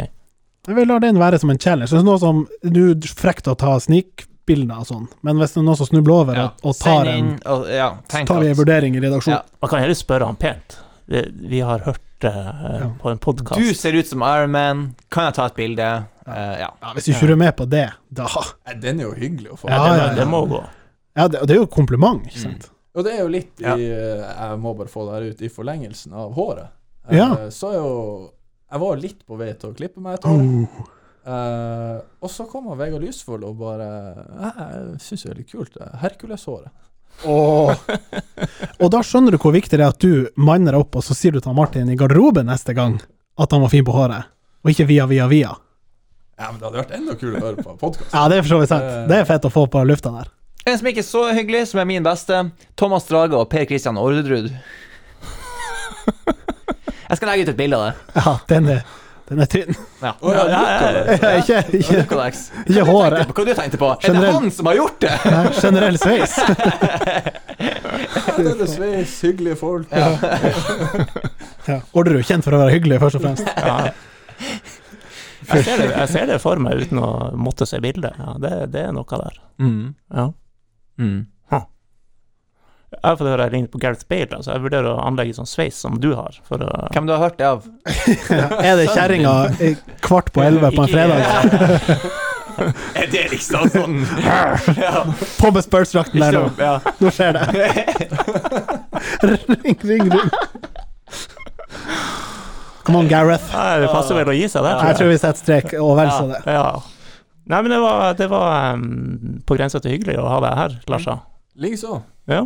B: Jeg vil la den være som en challenge. Det er noe som Nå er det frekt å ta snikbilder og sånn, men hvis det er noen som snubler over og- og tar
C: Send
B: en
C: inn, og, ja,
B: så
C: tenk
B: tar vi en
C: at
B: vurdering i redaksjonen.
C: Ja.
A: Man kan heller spørre han pent. Vi, vi har hørt det eh,
B: Ja.
A: på en podkast.
C: Du ser ut som Iron Man, kan jeg ta et bilde? Eh, ja.
B: Ja, hvis du ikke er med på det, da
D: Nei, Den er jo hyggelig å få.
B: Ja, ja, ja.
A: Det må gå.
B: Ja, det, det er jo et kompliment,
C: Mm.
B: ikke sant?
D: Og det er jo litt i eh,
C: Ja.
D: Jeg må bare få det her ut i forlengelsen av håret. Eh,
B: Ja.
D: Så er jo Jeg var litt på vei til å klippe meg et hår,
B: Oh,
D: eh, og så kom han Vegard Lysvold og bare Jeg, jeg syns det er litt kult, det Herkuleshåret.
B: Og da skjønner du hvor viktig det er at du manner deg opp, og så sier du til han Martin i garderoben neste gang at han var fin på håret, og ikke via, via, via.
D: Ja, men det hadde vært enda kulere å høre på podkast.
B: Ja, det er for så vidt sant. Det er fett å få på lufta der.
C: En som ikke er så hyggelig, som er min beste, Thomas Drage og Per Christian Orderud. Jeg skal legge ut et bilde av det.
B: Ja, den er, den er tynn.
C: Ja.
D: Å ja, Nicolai.
B: Ikke, ikke,
C: Nicolas.
B: ikke
C: Hva
B: håret.
C: tenkte du på? Hva du tenkte på? Er det
B: Generell-
C: han som har gjort det?
B: Nei, generell sveis.
D: Ja, det er det sveis, hyggelige folk.
B: Ja. Orderud er kjent for å være hyggelig, først og fremst.
A: Ja. Jeg, ser det, jeg ser det for meg uten å måtte se bildet. Ja, det, det er noe der.
C: Mm.
A: Ja.
C: Mm.
A: Jeg har fått høre jeg ringer på Gareth Bale, så jeg vurderer å anlegge sånn sveis som du har. For å,
C: Hvem du har hørt det av?
B: Er det kjerringa eh, kvart på elleve på en fredag?
C: Er det liksom sånn ja.
B: På med Spurs-drakten der nå.
C: Liksom, ja.
B: Nå skjer det. Ring, ring, ring. Come on, Gareth.
A: nei, det passer vel å gi seg der.
B: Jeg tror vi setter strek og vel så det.
A: Ja. Nei, men det var, det var em, på grensa til hyggelig å ha deg her, Larsa.
D: Likeså.
A: Ja.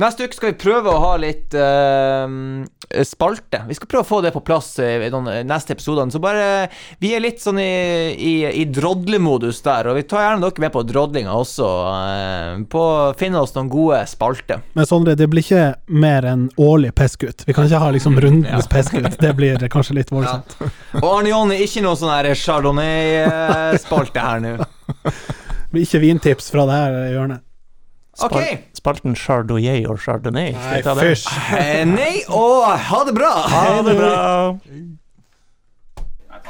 C: Neste uke skal vi prøve å ha litt eh, spalte. Vi skal prøve å få det på plass eh, i de neste episodene. Så bare Vi er litt sånn i, i, i drodlemodus der, og vi tar gjerne dere med på drodlinga også. eh, på å finne oss noen gode spalter.
B: Men Sondre, det blir ikke mer enn årlig peskut. Vi kan ikke ha liksom rundens peskut. Det blir kanskje litt voldsomt.
C: Og Arne Johnny, ikke noe sånn her Chardonnay-spalte her nå.
B: Det blir ikke vintips fra det her hjørnet.
C: OK.
A: Spalten Chardonnay og Chardonnay. Skal vi ta det?
B: fysj.
C: Eh, nei og ha det bra!
A: Ha det bra.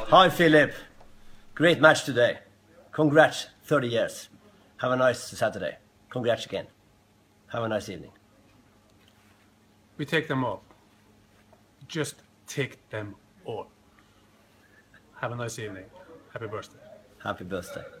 G: Hi, Philip. Great match today. Congrats, 30 years. Have a nice Saturday. Congrats again. Have a nice evening.
H: We take them all. Just take them all. Have a nice evening. Happy birthday.
G: Happy birthday.